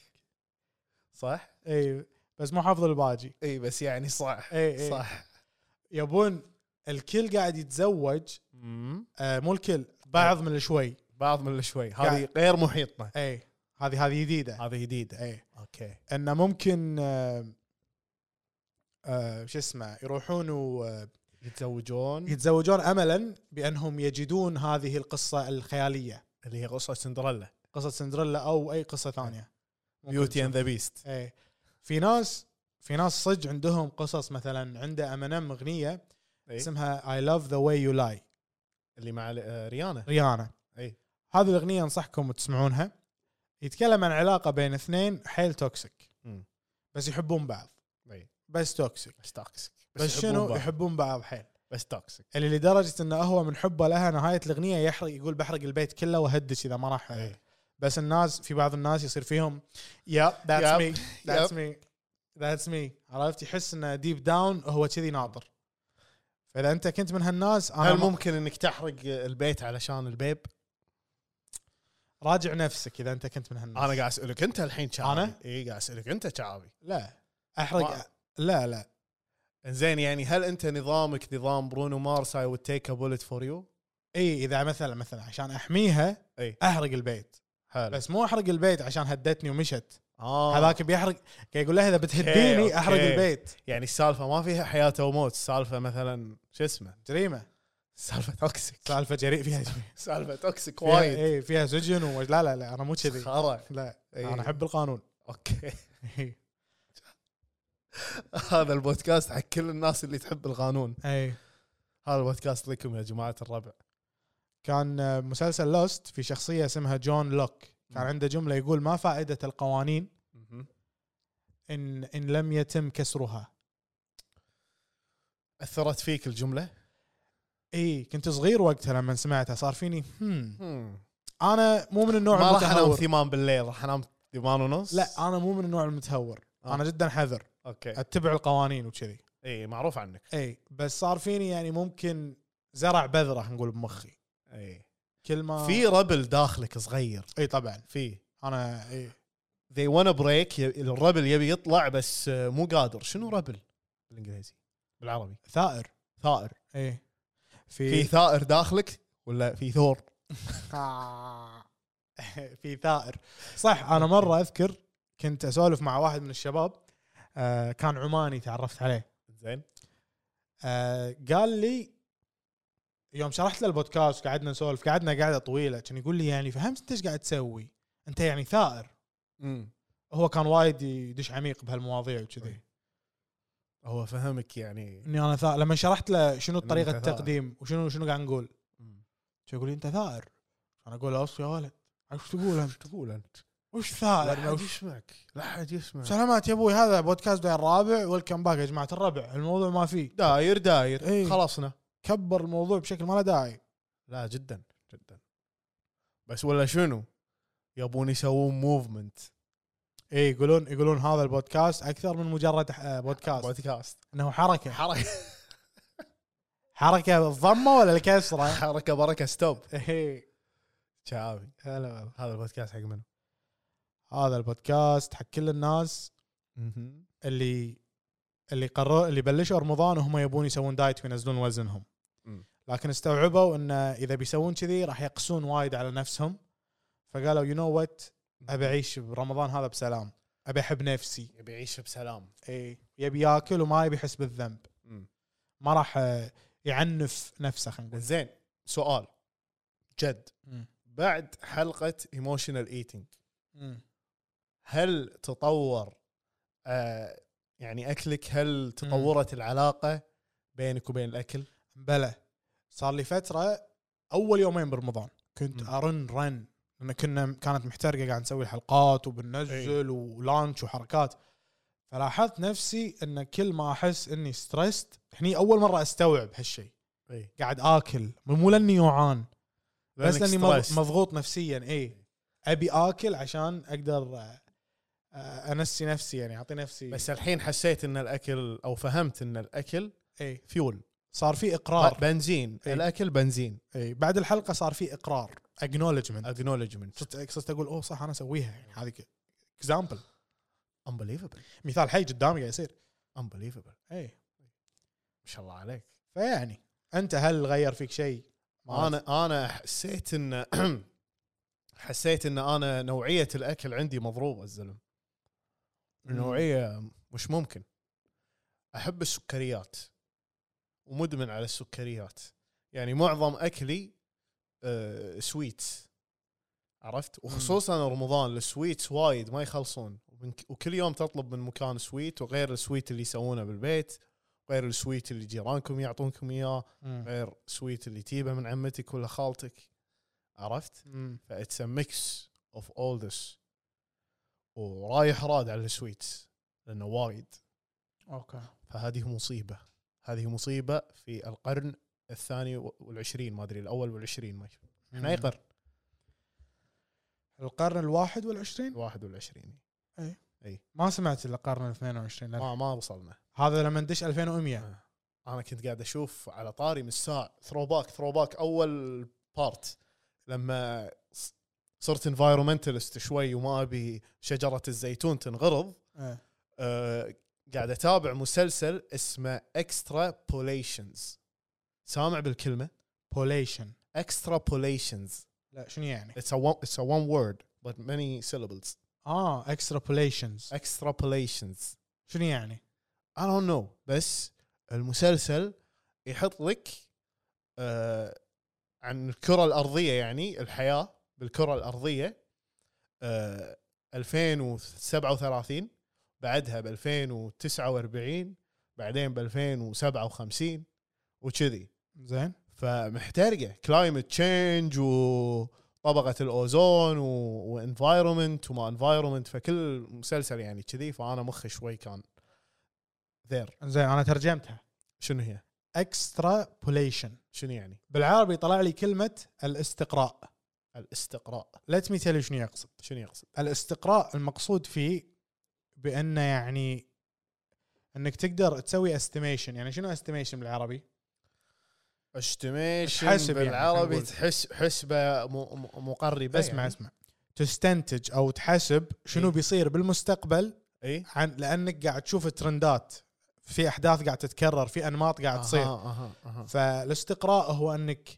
C: صح؟
B: اي بس مو حافظ الباجي
C: اي بس يعني صح
B: إي، إي.
C: صح
B: يبون الكل قاعد يتزوج
C: مم.
B: آه مو الكل بعض من شوي
C: بعض من شوي هذه
B: قاعد-
C: غير محيطنا
B: اي هذه هذه جديده
C: هذه جديده
B: اي
C: اوكي
B: انه ممكن آه آه، شو اسمه يروحون ويتزوجون
C: يتزوجون
B: املا بانهم يجدون هذه القصه الخياليه
C: اللي هي قصه سندريلا
B: قصه سندريلا او اي قصه ثانيه ممكن
C: بيوتي اند ذا بيست
B: ايه في ناس في ناس صج عندهم قصص مثلا عنده امنم اغنيه
C: إيه.
B: اسمها اي لاف ذا واي يو لاي
C: اللي مع ال- آه، ريانا
B: ريانا
C: إيه.
B: هذه الاغنيه انصحكم تسمعونها يتكلم عن علاقه بين اثنين حيل توكسيك
C: مم.
B: بس يحبون بعض
C: إيه.
B: بس توكسيك
C: بس توكسيك
B: بس, بس
C: يحبون
B: شنو
C: بعض.
B: يحبون بعض حيل
C: بس توكسيك
B: اللي لدرجه انه هو من حبه لها نهايه الاغنيه يحرق يقول بحرق البيت كله واهدش اذا ما راح
C: إيه.
B: بس الناس في بعض الناس يصير فيهم يب ذاتس مي
C: Yup.
B: ذاتس مي ذاتس مي عرفت يحس انه ديب داون هو كذي ناطر فاذا انت كنت من هالناس انا
C: هل
B: ما-
C: ممكن انك تحرق البيت علشان البيب؟
B: راجع نفسك اذا انت كنت من
C: انا
B: هالناس
C: قاعد اسالك انت الحين شعبي
B: أنا؟
C: اي قاعد اسالك انت شعبي
B: لا احرق
C: ما-
B: لا لا
C: زين يعني هل انت نظامك نظام برونو مارس اي وود تيك ا بولت فور يو؟
B: اي اذا مثلا مثلا عشان احميها
C: إي.
B: احرق البيت
C: حلو
B: بس مو احرق البيت عشان هدتني ومشت
C: آه.
B: هذاك بيحرق قاعد يقول لها اذا
C: أوكي.
B: بتهديني احرق البيت
C: يعني السالفه ما فيها حياه وموت السالفه مثلا شو اسمه
B: جريمه
C: سالفه توكسيك
B: سالفه جريمه فيها
C: سالفه توكسيك
B: فيها,
C: وايد
B: اي فيها سجن و... لا لا لا انا مو كذي
C: خرا
B: لا إيه.
C: إيه.
B: انا احب القانون
C: اوكي هذا البودكاست حق كل الناس اللي تحب القانون
B: اي
C: هذا البودكاست لكم يا جماعه الربع
B: كان آه، مسلسل لوست في شخصيه اسمها جون لوك كان
C: مم.
B: عنده جمله يقول ما فائده القوانين ان ان لم يتم كسرها
C: اثرت فيك الجمله
B: اي إيه، كنت صغير وقتها لما سمعتها صار فيني هم
C: ما
B: انا مو من النوع
C: راح انام
B: المتهور
C: ثمان بالليل راح انام ثمان ونص
B: لا انا مو من النوع المتهور
C: آه. إيه.
B: انا جدا حذر
C: اوكي
B: اتبع القوانين وكذي
C: اي إيه، معروف عنك
B: اي بس صار فيني يعني ممكن زرع بذره نقول بمخي إيه.
C: اي
B: كل ما
C: في ربل داخلك صغير
B: اي طبعا
C: في
B: انا اي
C: they wanna بريك الربل يبي يطلع بس آه، مو قادر شنو ربل بالانجليزي بالعربي
B: ثائر
C: ثائر
B: اي
C: في
B: في
C: ثائر داخلك ولا في ثور
B: آه. في ثائر صح انا مره اذكر كنت اسولف مع واحد من الشباب آه كان عماني تعرفت عليه
C: زين
B: آه قال لي يوم شرحت له البودكاست قعدنا نسولف قعدنا قعده طويله كان يقول لي يعني فهمت انت ايش قاعد تسوي انت يعني ثائر هو كان وايد يدش عميق بهالمواضيع وكذي
C: أي. هو فهمك يعني
B: اني انا ثائر لما شرحت له شنو
C: إن
B: طريقه
C: أنت ثائر.
B: التقديم وشنو شنو قاعد نقول
C: مم.
B: شو يقول لي انت ثائر انا اقول له اص يا ولد وش تقول انت
C: تقول انت
B: وش
C: لا
B: ثائر
C: حد
B: وش
C: يسمعك لا حد يسمعك
B: سلامات يا ابوي هذا بودكاست داير الرابع ويلكم باك يا جماعه الربع الموضوع ما فيه
C: داير
B: إي.
C: داير خلصنا
B: كبر الموضوع بشكل ما له داعي
C: لا جدا جدا بس ولا شنو يبون يسوون موفمنت
B: اي إيه، يقولون يقولون هذا البودكاست اكثر من مجرد آه، بودكاست
C: بودكاست
B: انه حركه
C: حركه
B: حركه بالضمه ولا الكسره؟
C: حركه بركه ستوب إيه.
B: اي
C: شعابي
B: هلا والله
C: هذا البودكاست حق منو؟
B: هذا البودكاست حق كل الناس اللي اللي قرروا اللي بلشوا رمضان وهم يبون يسوون دايت وينزلون وزنهم
C: مم.
B: لكن استوعبوا ان اذا بيسوون كذي راح يقسون وايد على نفسهم فقالوا يو نو وات ابي اعيش برمضان هذا بسلام ابي احب نفسي
C: يبي يعيش بسلام
B: اي يبي ياكل وما يبي يحس بالذنب ما راح آه، يعنف نفسه خلينا نقول
C: زين سؤال جد
B: مم.
C: بعد حلقه ايموشنال ايتنج
B: مم.
C: هل تطور آه يعني اكلك هل تطورت العلاقه بينك وبين الاكل؟
B: بلى صار لي فتره اول يومين برمضان كنت
C: مم.
B: ارن رن لان كنا كانت محترقه قاعد نسوي الحلقات
C: إيه.
B: وبننزل ولانش وحركات فلاحظت نفسي ان كل ما احس اني ستريسد هني اول مره استوعب هالشيء
C: اي
B: قاعد اكل مو لاني جوعان بس لاني مض-
C: مضغوط
B: مضغوط نفسيا اي
C: إيه.
B: ابي اكل عشان اقدر آه، آه، انسي نفسي يعني اعطي نفسي
C: بس الحين حسيت ان الاكل او فهمت ان الاكل
B: اي
C: فيول
B: إيه. صار في اقرار
C: بنزين
B: إي.
C: الاكل بنزين
B: اي بعد الحلقه صار في اقرار اكنولجمنت
C: اكنولجمنت
B: صرت صرت اقول اوه صح انا اسويها يعني هذه اكزامبل
C: امبليفبل
B: مثال حي قدامي قاعد يصير
C: امبليفبل
B: اي
C: ما شاء الله عليك
B: فيعني انت هل غير فيك شيء؟ ما أعرف.
C: انا انا حسيت ان حسيت ان انا نوعيه الاكل عندي مضروبه الزلم نوعيه مش ممكن احب السكريات ومدمن على السكريات يعني معظم اكلي آه سويتس عرفت وخصوصا رمضان السويتس وايد ما يخلصون ومن- وكل يوم تطلب من مكان سويت وغير السويت اللي يسوونه بالبيت غير السويت اللي جيرانكم يعطونكم اياه غير سويت اللي تجيبه من عمتك ولا خالتك عرفت
B: مم.
C: فاتس ا ميكس اوف اول ذس ورايح راد على السويتس لانه وايد
B: اوكي
C: فهذه مصيبه هذه مصيبه في القرن الثاني والعشرين ما ادري الاول والعشرين ما أدري. احنا اي
B: مم.
C: قرن
B: القرن الواحد والعشرين
C: الواحد والعشرين
B: ما سمعت الا القرن ال 22 لا.
C: ما ما وصلنا
B: هذا لما ندش 2100
C: انا كنت قاعد اشوف على طاري من الساعه ثرو باك ثرو باك اول بارت لما ص- صرت انفايرومنتالست شوي وما ابي شجره الزيتون تنغرض
B: إيه.
C: أه قاعد اتابع مسلسل اسمه اكسترابوليشنز سامع بالكلمه
B: بوليشن
C: اكسترابوليشنز
B: لا شنو يعني؟
C: it's a one it's a one word but many syllables
B: اه اكسترابوليشنز
C: extrapolations
B: شنو يعني؟
C: I don't know بس المسلسل يحط لك آه عن الكرة الأرضية يعني الحياة بالكرة الأرضية آه 2037 بعدها ب 2049 بعدين ب 2057 وكذي
B: زين
C: فمحترقه كلايمت تشينج وطبقه الاوزون وانفايرمنت وما انفايرمنت فكل مسلسل يعني كذي فانا مخي شوي كان ذير
B: زين انا ترجمتها
C: شنو هي؟
B: اكسترابوليشن
C: شنو يعني؟
B: بالعربي طلع لي كلمه الاستقراء
C: الاستقراء
B: ليت مي تيل شنو يقصد
C: شنو يقصد؟
B: الاستقراء المقصود فيه بانه يعني انك تقدر تسوي استيميشن يعني شنو استيميشن بالعربي؟
C: استيميشن
B: تحسب يعني،
C: بالعربي
B: خلينا نقول.
C: تحس حسبه م- م- يعني. مقربه
B: اسمع اسمع تستنتج او تحسب شنو
C: إيه.
B: بيصير بالمستقبل
C: اي
B: عن لانك قاعد تشوف ترندات في احداث قاعد تتكرر في انماط قاعد تصير
C: اها اها, أها.
B: فالاستقراء هو انك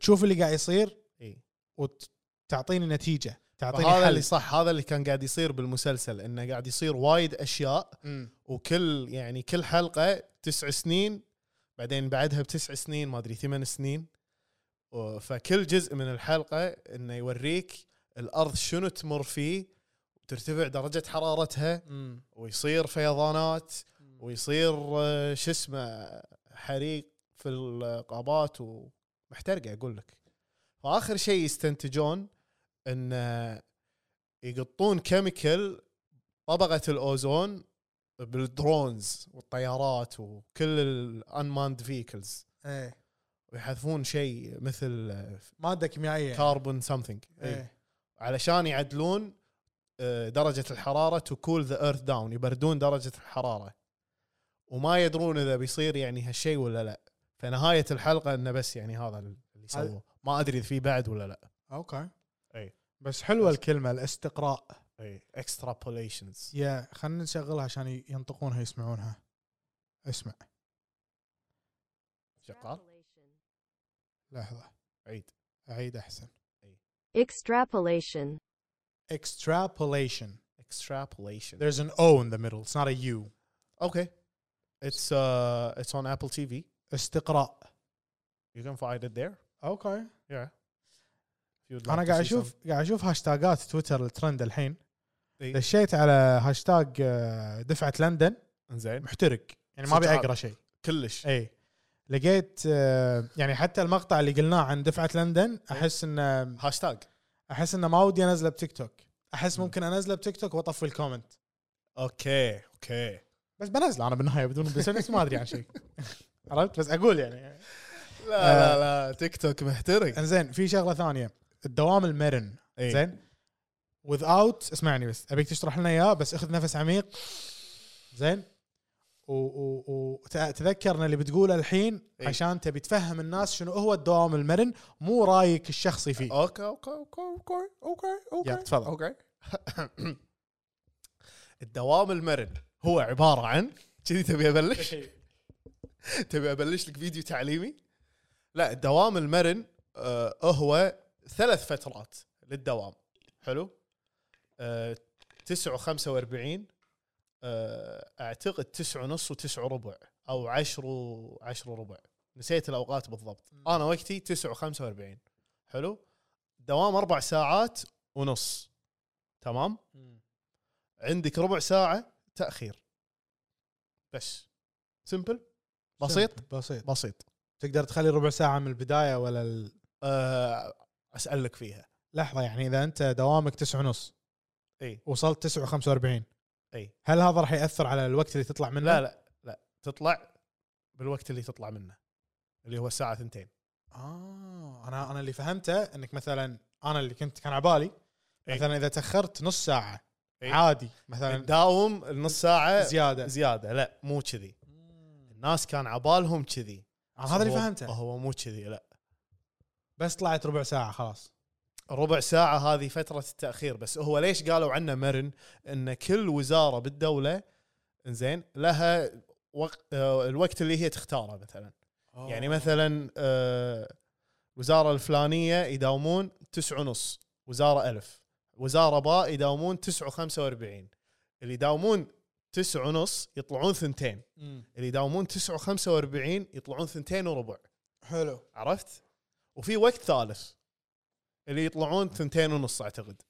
B: تشوف اللي قاعد يصير
C: إي.
B: وتعطيني نتيجه تعطيني
C: هذا اللي
B: حل
C: صح هذا اللي كان قاعد يصير بالمسلسل انه قاعد يصير وايد اشياء
B: مم.
C: وكل يعني كل حلقه تسع سنين بعدين بعدها بتسع سنين ما ادري ثمان سنين و- فكل جزء من الحلقه انه يوريك الارض شنو تمر فيه وترتفع درجه حرارتها
B: مم.
C: ويصير فيضانات ويصير آه، شو اسمه حريق في الغابات ومحترقه اقول لك فاخر شيء يستنتجون ان آه، يقطون كيميكال طبقه الاوزون بالدرونز والطيارات وكل الانماند فيكلز
B: ايه
C: ويحذفون شيء مثل
B: ماده كيميائيه
C: كاربون سمثينج
B: ايه
C: علشان يعدلون آه، درجة الحرارة تو كول ذا ايرث داون يبردون درجة الحرارة وما يدرون اذا بيصير يعني هالشيء ولا لا فنهاية الحلقة انه بس يعني هذا اللي سووه ما ادري اذا في بعد ولا لا
B: اوكي
C: إيه.
B: بس حلوه الكلمه الاستقراء
C: اي اكسترابوليشنز
B: يا خلينا نشغلها عشان ي- ينطقونها يسمعونها اسمع
C: شغال
B: لحظه
C: عيد
B: اعيد احسن
F: Extrapolation.
B: extrapolation
C: اكسترابوليشن
B: there's an o in the middle it's not a u
C: اوكي اتس اتس اون ابل تي في
B: استقراء
C: يو كان فايند ات ذير
B: اوكي
C: يا
B: انا قاعد اشوف قاعد اشوف هاشتاجات تويتر الترند الحين
C: إيه.
B: دشيت على هاشتاج آه، دفعه لندن
C: زين
B: محترق يعني ما ابي
C: صدق
B: اقرا شيء
C: كلش
B: اي لقيت آه، يعني حتى المقطع اللي قلناه عن دفعه لندن
C: إيه.
B: احس انه
C: هاشتاج
B: احس انه ما ودي انزله بتيك توك احس ممكن انزله بتيك توك واطفي الكومنت
C: اوكي اوكي
B: بس بنزله انا بالنهايه بدون بس ما ادري عن شيء عرفت بس اقول يعني
C: لا لا لا تيك توك محترق
B: انزين في شغله ثانيه الدوام المرن
C: إيه.
B: زين without اسمعني بس ابيك تشرح لنا اياه بس اخذ نفس عميق زين وتذكرنا اللي بتقوله الحين
C: إيه.
B: عشان تبي تفهم الناس شنو هو الدوام المرن مو رايك الشخصي فيه
C: اوكي اوكي اوكي اوكي اوكي اوكي
B: يلا، تفضل.
C: اوكي الدوام المرن هو عباره عن كذي تبي ابلش تبي ابلش لك فيديو تعليمي لا الدوام المرن آه هو ثلاث فترات للدوام حلو آه 9 و45 آه، اعتقد تسعة ونص وتسعة وربع او عشر وعشر وربع نسيت الاوقات بالضبط
B: مم.
C: انا وقتي تسعة وخمسة واربعين حلو دوام اربع ساعات ونص تمام عندك ربع ساعة تأخير بس سمبل بسيط
B: بسيط
C: بسيط
B: تقدر تخلي ربع ساعه من البدايه ولا ال- آه،
C: أه اسألك فيها
B: لحظه يعني اذا انت دوامك تسعة ونص
C: اي
B: وصلت 9 و45
C: اي
B: هل هذا راح ياثر على الوقت اللي تطلع منه؟
C: لا لا لا تطلع بالوقت اللي تطلع منه اللي هو الساعة ثنتين
B: اه انا انا اللي فهمته انك مثلا انا اللي كنت كان على بالي
C: إي.
B: مثلا اذا تاخرت نص ساعه
C: إي.
B: عادي مثلا
C: تداوم النص ساعة
B: زياده
C: زيادة لا مو كذي الناس كان عبالهم كذي
B: أنا آه، هذا اللي
C: هو-
B: فهمته
C: هو مو كذي لا
B: بس طلعت ربع ساعه خلاص
C: ربع ساعة هذه فترة التأخير بس هو ليش قالوا عنه مرن ان كل وزارة بالدولة انزين لها وق... آه، الوقت اللي هي تختاره مثلا يعني مثلا آه، وزارة الفلانية يداومون تسعة ونص وزارة ألف وزارة باء يداومون تسعة وخمسة واربعين اللي يداومون تسعة ونص يطلعون ثنتين
B: مم.
C: اللي يداومون تسعة وخمسة واربعين يطلعون ثنتين وربع
B: حلو
C: عرفت وفي وقت ثالث اللي يطلعون ثنتين ونص اعتقد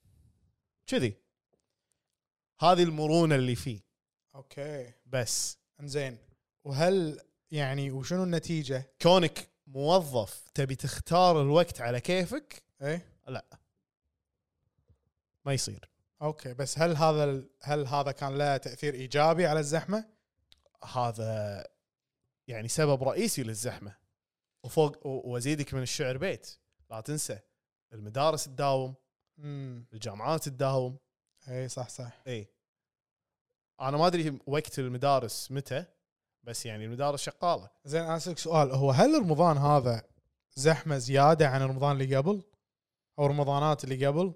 C: كذي هذه المرونه اللي فيه
B: اوكي
C: بس
B: انزين وهل يعني وشنو النتيجه؟
C: كونك موظف تبي تختار الوقت على كيفك
B: ايه
C: ما يصير
B: اوكي بس هل هذا ال- هل هذا كان له تاثير ايجابي على الزحمه؟
C: هذا يعني سبب رئيسي للزحمه وفوق و- وازيدك من الشعر بيت لا تنسى المدارس تداوم
B: امم
C: الجامعات تداوم إيه.
B: اي إيه، صح صح
C: اي انا ما ادري وقت المدارس متى بس يعني المدارس شغاله
B: زين انا اسالك سؤال هو هل رمضان هذا زحمه زياده عن رمضان اللي قبل؟ او رمضانات اللي قبل؟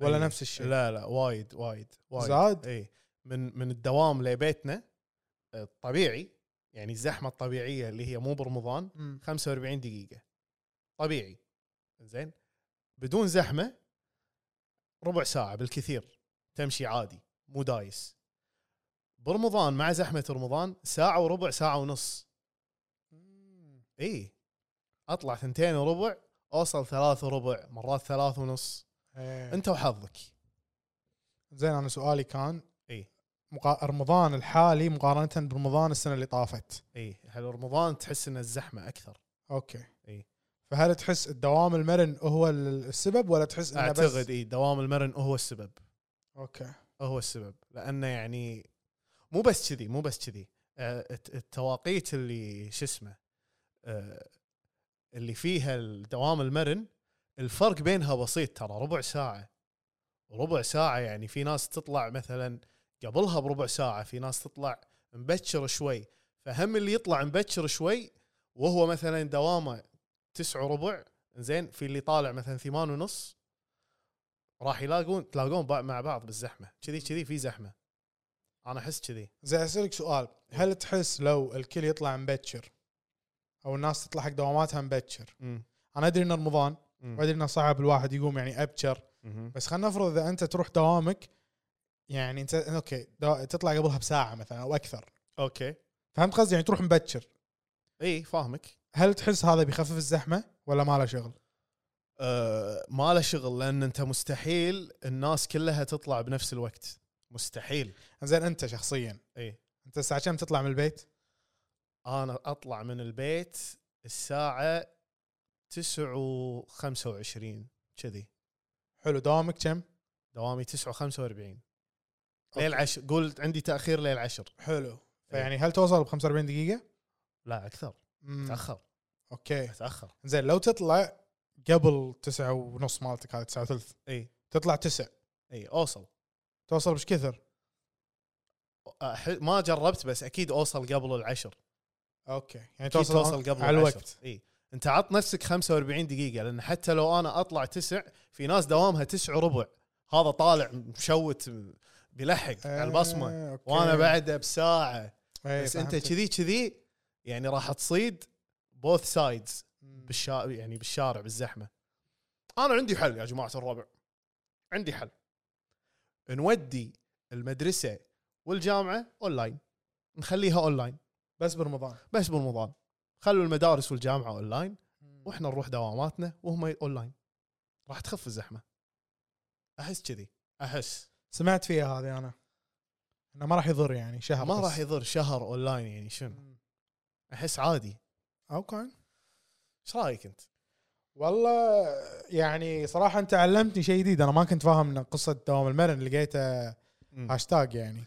B: ولا
C: أي.
B: نفس الشيء؟
C: أيوة. لا لا وايد وايد وايد
B: زاد؟
C: اي من من الدوام لبيتنا الطبيعي يعني الزحمه الطبيعيه اللي هي مو برمضان
B: مم.
C: 45 دقيقه طبيعي زين بدون زحمه ربع ساعه بالكثير تمشي عادي مو دايس برمضان مع زحمه رمضان ساعه وربع ساعه ونص اي اطلع ثنتين وربع اوصل ثلاث وربع مرات ثلاث ونص
B: إيه.
C: انت وحظك
B: زين انا سؤالي كان
C: إي.
B: مقا... رمضان الحالي مقارنه برمضان السنه اللي طافت
C: اي إيه، هل رمضان تحس ان الزحمه اكثر
B: اوكي
C: إي.
B: فهل تحس الدوام المرن هو ال- السبب ولا تحس انه بس-
C: اعتقد اي إيه، دوام المرن هو السبب
B: اوكي
C: هو السبب لانه يعني مو بس كذي مو بس كذي آه، الت- التواقيت اللي شو اسمه آه، اللي فيها الدوام المرن الفرق بينها بسيط ترى ربع ساعه ربع ساعه يعني في ناس تطلع مثلا قبلها بربع ساعه في ناس تطلع مبكر شوي فهم اللي يطلع مبكر شوي وهو مثلا دوامه تسعة وربع زين في اللي طالع مثلا ثمان ونص راح يلاقون تلاقون بع- مع بعض بالزحمه كذي كذي في زحمه انا احس كذي
B: زين اسالك سؤال هل تحس لو الكل يطلع مبكر او الناس تطلع حق دواماتها مبكر انا ادري ان رمضان وادري انه صعب الواحد يقوم يعني ابكر بس خلينا نفرض اذا انت تروح دوامك يعني انت اوكي دو... تطلع قبلها بساعه مثلا او اكثر
C: اوكي
B: فهمت قصدي يعني تروح مبكر
C: اي فاهمك
B: هل تحس هذا بيخفف الزحمه ولا ما له شغل؟
C: أه ما له شغل لان انت مستحيل الناس كلها تطلع بنفس الوقت مستحيل
B: زين انت شخصيا
C: اي
B: انت الساعه كم تطلع من البيت؟
C: انا اطلع من البيت الساعه 9:25 كذي
B: حلو دوامك كم؟
C: دوامي 9:45 ليل عشر قول عندي تاخير ليل عشر
B: حلو فيعني هل توصل ب 45 دقيقه؟
C: لا اكثر
B: مم.
C: تاخر
B: اوكي
C: تاخر
B: زين لو تطلع قبل تسعة ونص مالتك هذا تسعة وثلث
C: اي
B: تطلع تسع
C: اي اوصل
B: توصل بش كثر
C: أح- ما جربت بس اكيد اوصل قبل العشر
B: اوكي يعني
C: اكيد
B: توصل,
C: توصل قبل
B: على
C: العشر
B: الوقت
C: اي انت عط نفسك 45 دقيقه لان حتى لو انا اطلع تسع في ناس دوامها تسع وربع هذا طالع مشوت بيلحق على البصمه
B: آه، أوكي.
C: وانا بعده بساعه
B: إيه،
C: بس انت
B: فهمتك.
C: كذي كذي يعني راح تصيد بوث سايدز
B: مم.
C: بالشا... يعني بالشارع بالزحمه انا عندي حل يا جماعه الربع عندي حل نودي المدرسه والجامعه اونلاين نخليها اونلاين
B: بس برمضان
C: بس برمضان خلوا المدارس والجامعه اونلاين واحنا نروح دواماتنا وهم اونلاين راح تخف الزحمه احس كذي احس
B: سمعت فيها هذه انا انه ما راح يضر يعني شهر
C: ما
B: بس.
C: راح يضر شهر اونلاين يعني شنو احس عادي
B: اوكي
C: ايش رايك انت
B: والله يعني صراحه انت علمتني شيء جديد انا ما كنت فاهم ان قصه دوام المرن لقيته هاشتاج يعني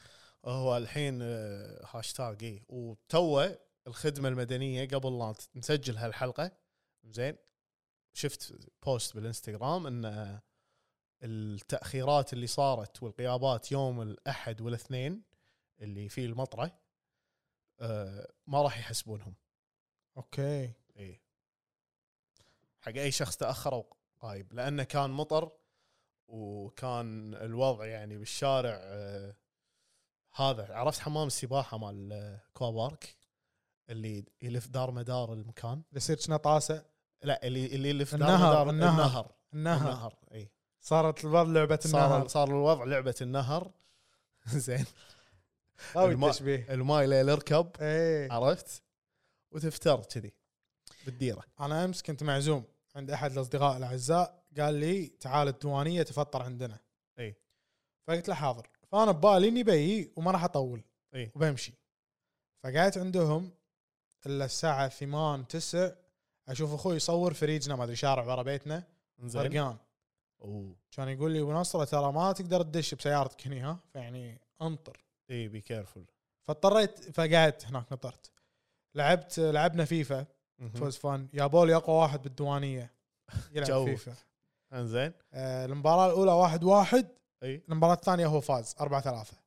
C: هو الحين آه، هاشتاج اي وتوه الخدمه المدنيه قبل لا ت- نسجل هالحلقه زين شفت بوست بالانستغرام ان آه، التاخيرات اللي صارت والغيابات يوم الاحد والاثنين اللي فيه المطره آه، ما راح يحسبونهم
B: اوكي
C: اي حق اي شخص تاخر او غايب لانه كان مطر وكان الوضع يعني بالشارع آه، هذا عرفت حمام السباحه مال آه، كوا بارك اللي يلف دار مدار المكان
B: يصير كنا طاسه
C: لا اللي اللي يلف دار
B: النهر،
C: مدار
B: النهر.
C: النهر
B: النهر
C: النهر اي
B: صارت الوضع لعبه
C: صار
B: النهر
C: صار الوضع لعبه النهر زين
B: قوي
C: الماء.
B: التشبيه
C: الماي ليل يركب
B: ايه
C: آه. عرفت وتفتر كذي بالديره
B: انا امس كنت معزوم عند احد الاصدقاء الاعزاء قال لي تعال الديوانيه تفطر عندنا
C: اي.
B: فقلت له حاضر فانا ببالي اني بيي وما راح اطول
C: اي.
B: وبمشي فقعدت عندهم الا الساعه 8 9 اشوف اخوي يصور فريجنا ما ادري شارع ورا بيتنا
C: زين
B: غرقان
C: اوه
B: كان يقول لي ونصره ترى ما تقدر تدش بسيارتك هني ها فيعني انطر
C: اي بي كيرفول
B: فاضطريت فقعدت هناك نطرت لعبت لعبنا فيفا فوز فان جابوا لي اقوى واحد بالديوانيه يلعب
C: جو.
B: فيفا
C: انزين
B: آه، المباراة الأولى واحد واحد
C: اي
B: المباراة الثانية هو فاز أربعة ثلاثة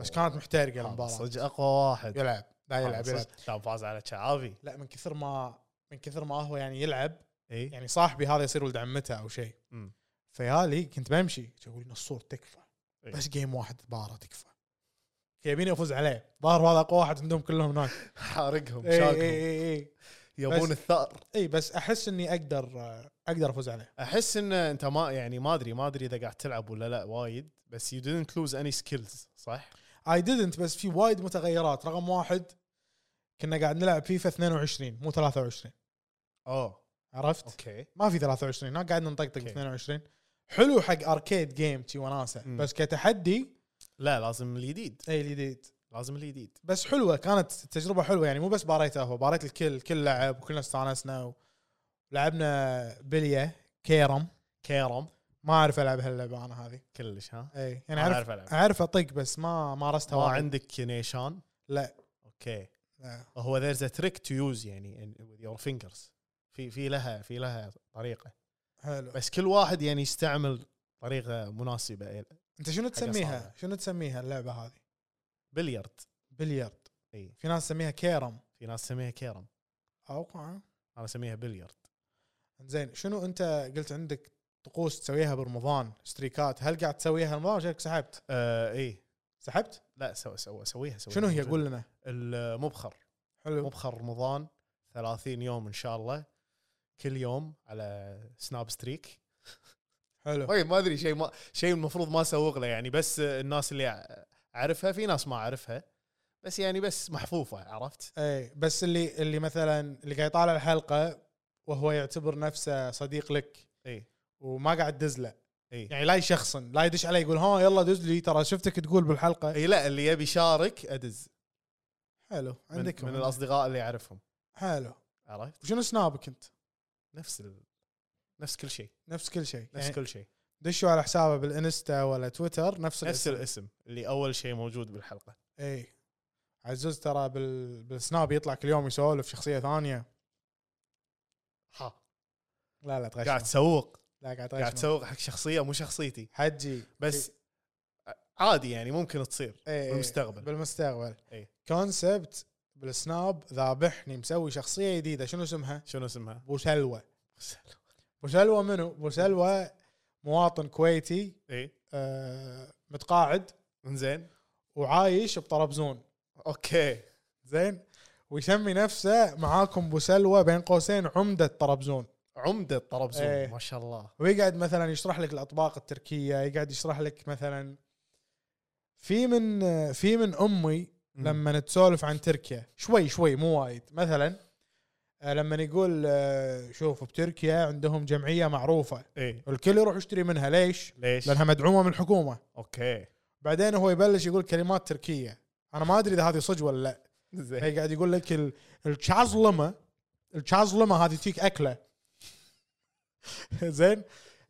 B: بس كانت محترقة المباراة
C: صدق اقوى واحد
B: يلعب لا يلعب يلعب
C: لا فاز على شعابي
B: لا من كثر ما من كثر ما هو يعني يلعب
C: اي
B: يعني صاحبي هذا يصير ولد عمته أو شيء
C: إيه. مم.
B: فيالي كنت بمشي أقول نصور تكفى
C: إي.
B: بس جيم واحد مباراة تكفى يبيني افوز عليه ظهر هذا اقوى واحد عندهم كلهم هناك
C: حارقهم
B: اي اي
C: شاكهم
B: اي اي بس-
C: يبون الثار
B: اي إيه، بس احس اني اقدر اقدر افوز عليه
C: احس ان انت ما يعني ما ادري ما ادري اذا قاعد تلعب ولا لا وايد بس يو didnt لوز اني سكيلز صح؟
B: اي ديدنت بس في وايد متغيرات رقم واحد كنا قاعد نلعب فيفا 22 مو 23
C: اوه
B: عرفت؟
C: اوكي
B: ما في 23 هناك قاعد نطقطق ب
C: أوكي.
B: 22 حلو حق اركيد جيم شي وناسه
C: مم.
B: بس كتحدي
C: لا لازم الجديد
B: اي الجديد
C: لازم الجديد
B: بس حلوه كانت تجربه حلوه يعني مو بس باريت قهوه باريت الكل كل لعب وكلنا استانسنا ولعبنا بليه كيرم
C: كيرم
B: ما اعرف العب هاللعبه انا هذه
C: كلش ها؟
B: اي
C: ما
B: يعني اعرف
C: أعرف العب
B: اعرف اطق بس ما مارستها
C: ما
B: وايد. آه.
C: عندك نيشان؟
B: لا.
C: اوكي
B: لا.
C: هو there's a trick to use يعني with your fingers في في لها في لها طريقه
B: حلو
C: بس كل واحد يعني يستعمل طريقه مناسبه
B: انت شنو تسميها
C: صعبة.
B: شنو تسميها اللعبه هذه
C: بليارد
B: بليارد
C: اي
B: في ناس تسميها كيرم
C: في ناس تسميها كيرم
B: اوقع
C: انا اسميها بليارد
B: زين شنو انت قلت عندك طقوس تسويها برمضان ستريكات هل قاعد تسويها رمضان ولا سحبت
C: آه اي
B: سحبت
C: لا سو سو سويها سويها
B: شنو هي قول لنا
C: المبخر
B: حلو
C: مبخر رمضان 30 يوم ان شاء الله كل يوم على سناب ستريك
B: حلو
C: طيب ما ادري شيء ما شيء المفروض ما اسوق له يعني بس الناس اللي اعرفها في ناس ما اعرفها بس يعني بس محفوفه عرفت؟
B: اي إيه، بس اللي اللي مثلا اللي قاعد يطالع الحلقه وهو يعتبر نفسه صديق لك
C: اي
B: وما قاعد دز له
C: اي
B: يعني لا يشخصن لا يدش علي يقول ها يلا دز لي ترى شفتك تقول بالحلقه
C: اي إيه، لا اللي يبي يشارك ادز
B: حلو
C: من,
B: عندكم
C: من الاصدقاء اللي اعرفهم
B: حلو
C: عرفت؟
B: وشنو سنابك انت؟
C: نفس ال... نفس كل شيء
B: نفس كل شيء يعني
C: نفس كل شيء
B: دشوا على حسابه بالانستا ولا تويتر نفس
C: نفس
B: الاسم
C: الاسم اللي اول شيء موجود بالحلقه
B: اي عزوز ترى بال... بالسناب يطلع كل يوم يسولف شخصيه ثانيه
C: ها
B: لا لا تغش
C: قاعد تسوق
B: لا قاعد
C: قاعد
B: تغش
C: تسوق حق شخصيه مو شخصيتي
B: حجي
C: بس
B: إيه.
C: عادي يعني ممكن تصير
B: إي، إي،
C: بالمستقبل
B: إيه.
C: إيه.
B: بالمستقبل
C: إي.
B: كونسبت بالسناب ذابحني مسوي شخصيه جديده شنو اسمها؟
C: شنو اسمها؟
B: بو سلوى بو سلوى منو؟ بو سلوى مواطن كويتي
C: اي
B: آه متقاعد
C: انزين
B: وعايش بطرابزون
C: اوكي
B: زين ويسمي نفسه معاكم بو سلوى بين قوسين عمده طرابزون
C: عمده طرابزون
B: إيه.
C: ما شاء الله
B: ويقعد مثلا يشرح لك الاطباق التركيه يقعد يشرح لك مثلا في من في من امي لما نتسولف عن تركيا شوي شوي مو وايد مثلا آه، لما يقول آه، شوف بتركيا عندهم جمعيه معروفه
C: ايه
B: الكل يروح يشتري منها ليش؟
C: ليش؟
B: لانها مدعومه من الحكومه
C: اوكي
B: بعدين هو يبلش يقول كلمات تركيه انا ما ادري اذا هذه صدق ولا لا
C: زين
B: هي قاعد يقول لك ال- الشازلمه الشازلمه هذه تيك اكله زين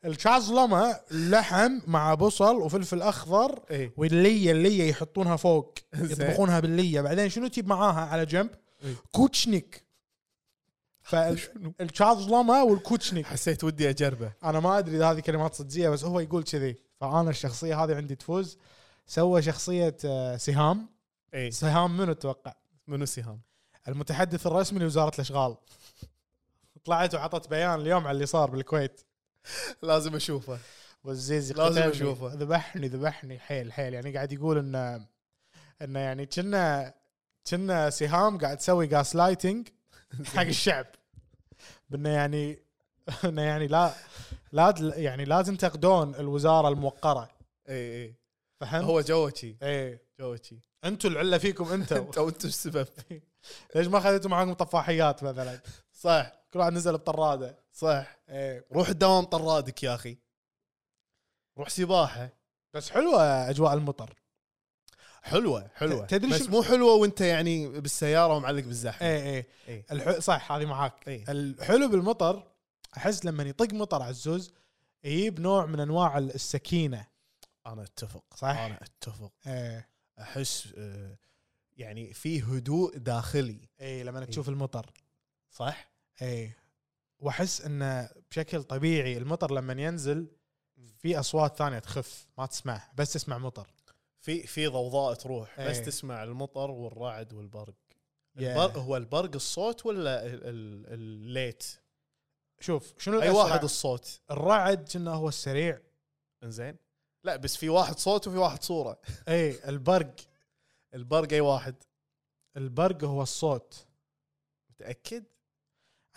B: الشازلمه لحم مع بصل وفلفل اخضر
C: ايه
B: والليه الليه يحطونها فوق
C: زين.
B: يطبخونها بالليه بعدين شنو تجيب معاها على جنب
C: إيه.
B: كوتشنيك
C: شنو؟
B: فالشازلمه والكوتشنيك
C: حسيت ودي اجربه
B: انا ما ادري اذا هذه كلمات صدقيه بس هو يقول كذي فانا الشخصيه هذه عندي تفوز سوى شخصيه آه، سهام
C: ايه
B: سهام منو تتوقع؟
C: منو سهام؟
B: المتحدث الرسمي لوزاره الاشغال طلعت وعطت بيان اليوم على اللي صار بالكويت
C: لازم اشوفه
B: والزيزي
C: لازم
B: قتلني،
C: أشوفه.
B: ذبحني ذبحني حيل حيل يعني قاعد يقول انه انه يعني كنا كنا سهام قاعد تسوي جاس لايتنج حق الشعب بانه يعني انه يعني لا لا تل- يعني لا تنتقدون الوزاره الموقره
C: اي اي
B: فهمت؟
C: هو جوه شي
B: ايه
C: جوه شي
B: انتم العله فيكم انتم
C: انت وانت السبب
B: ليش ما خذيتوا معاكم طفاحيات مثلا؟
C: صح
B: كل واحد نزل بطراده
C: صح إيه.
B: ايه
C: روح الدوام طرادك يا اخي روح سباحه
B: بس حلوه اجواء المطر
C: حلوه حلوه
B: ت- تدري
C: بس
B: شو-
C: مو حلوه وانت يعني بالسياره ومعلق بالزحمه
B: ايه ايه
C: إيه.
B: الح... صح هذه معاك
C: إيه.
B: الحلو بالمطر احس لما يطق مطر عزوز يجيب نوع من انواع ال- السكينه
C: انا اتفق
B: صح.
C: انا اتفق
B: ايه
C: احس آه، يعني في هدوء داخلي
B: ايه
C: إيه.
B: لما تشوف المطر
C: صح
B: ايه واحس انه بشكل طبيعي المطر لما ينزل في اصوات ثانيه تخف ما تسمعها بس تسمع مطر
C: في في ضوضاء تروح بس
B: إيه.
C: تسمع المطر والرعد والبرق
B: يا.
C: البرق هو البرق الصوت ولا ال- ال- الليت
B: شوف شنو
C: اي
B: الأسرع؟
C: واحد الصوت
B: الرعد كنا هو السريع
C: انزين لا بس في واحد صوت وفي واحد صوره
B: ايه البرق
C: البرق اي واحد
B: البرق هو الصوت
C: متاكد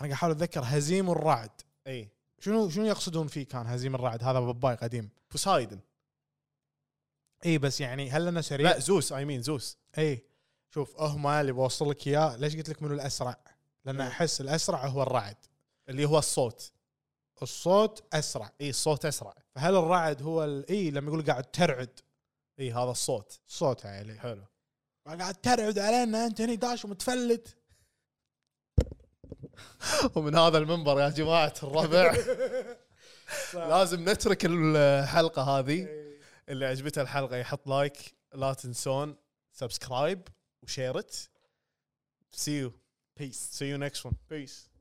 B: انا قاعد احاول اتذكر هزيم الرعد
C: اي
B: شنو شنو يقصدون فيه كان هزيم الرعد هذا باباي قديم
C: بوسايدن
B: اي بس يعني هل انا سريع
C: لا زوس اي مين زوس
B: اي شوف أه هم اللي بوصل لك اياه ليش قلت لك منو الاسرع؟ لان
C: إيه.
B: احس الاسرع هو الرعد
C: اللي هو الصوت
B: الصوت اسرع
C: اي الصوت اسرع
B: فهل الرعد هو ال- اي لما يقول قاعد ترعد إيه،
C: اي هذا الصوت
B: صوت عليه
C: حلو
B: قاعد ترعد علينا انت هني داش ومتفلت
C: ومن هذا المنبر يا جماعه الربع لازم نترك الحلقه هذه اللي عجبتها الحلقه يحط لايك لا تنسون سبسكرايب وشيرت سي يو بيس سي يو نيكست ون بيس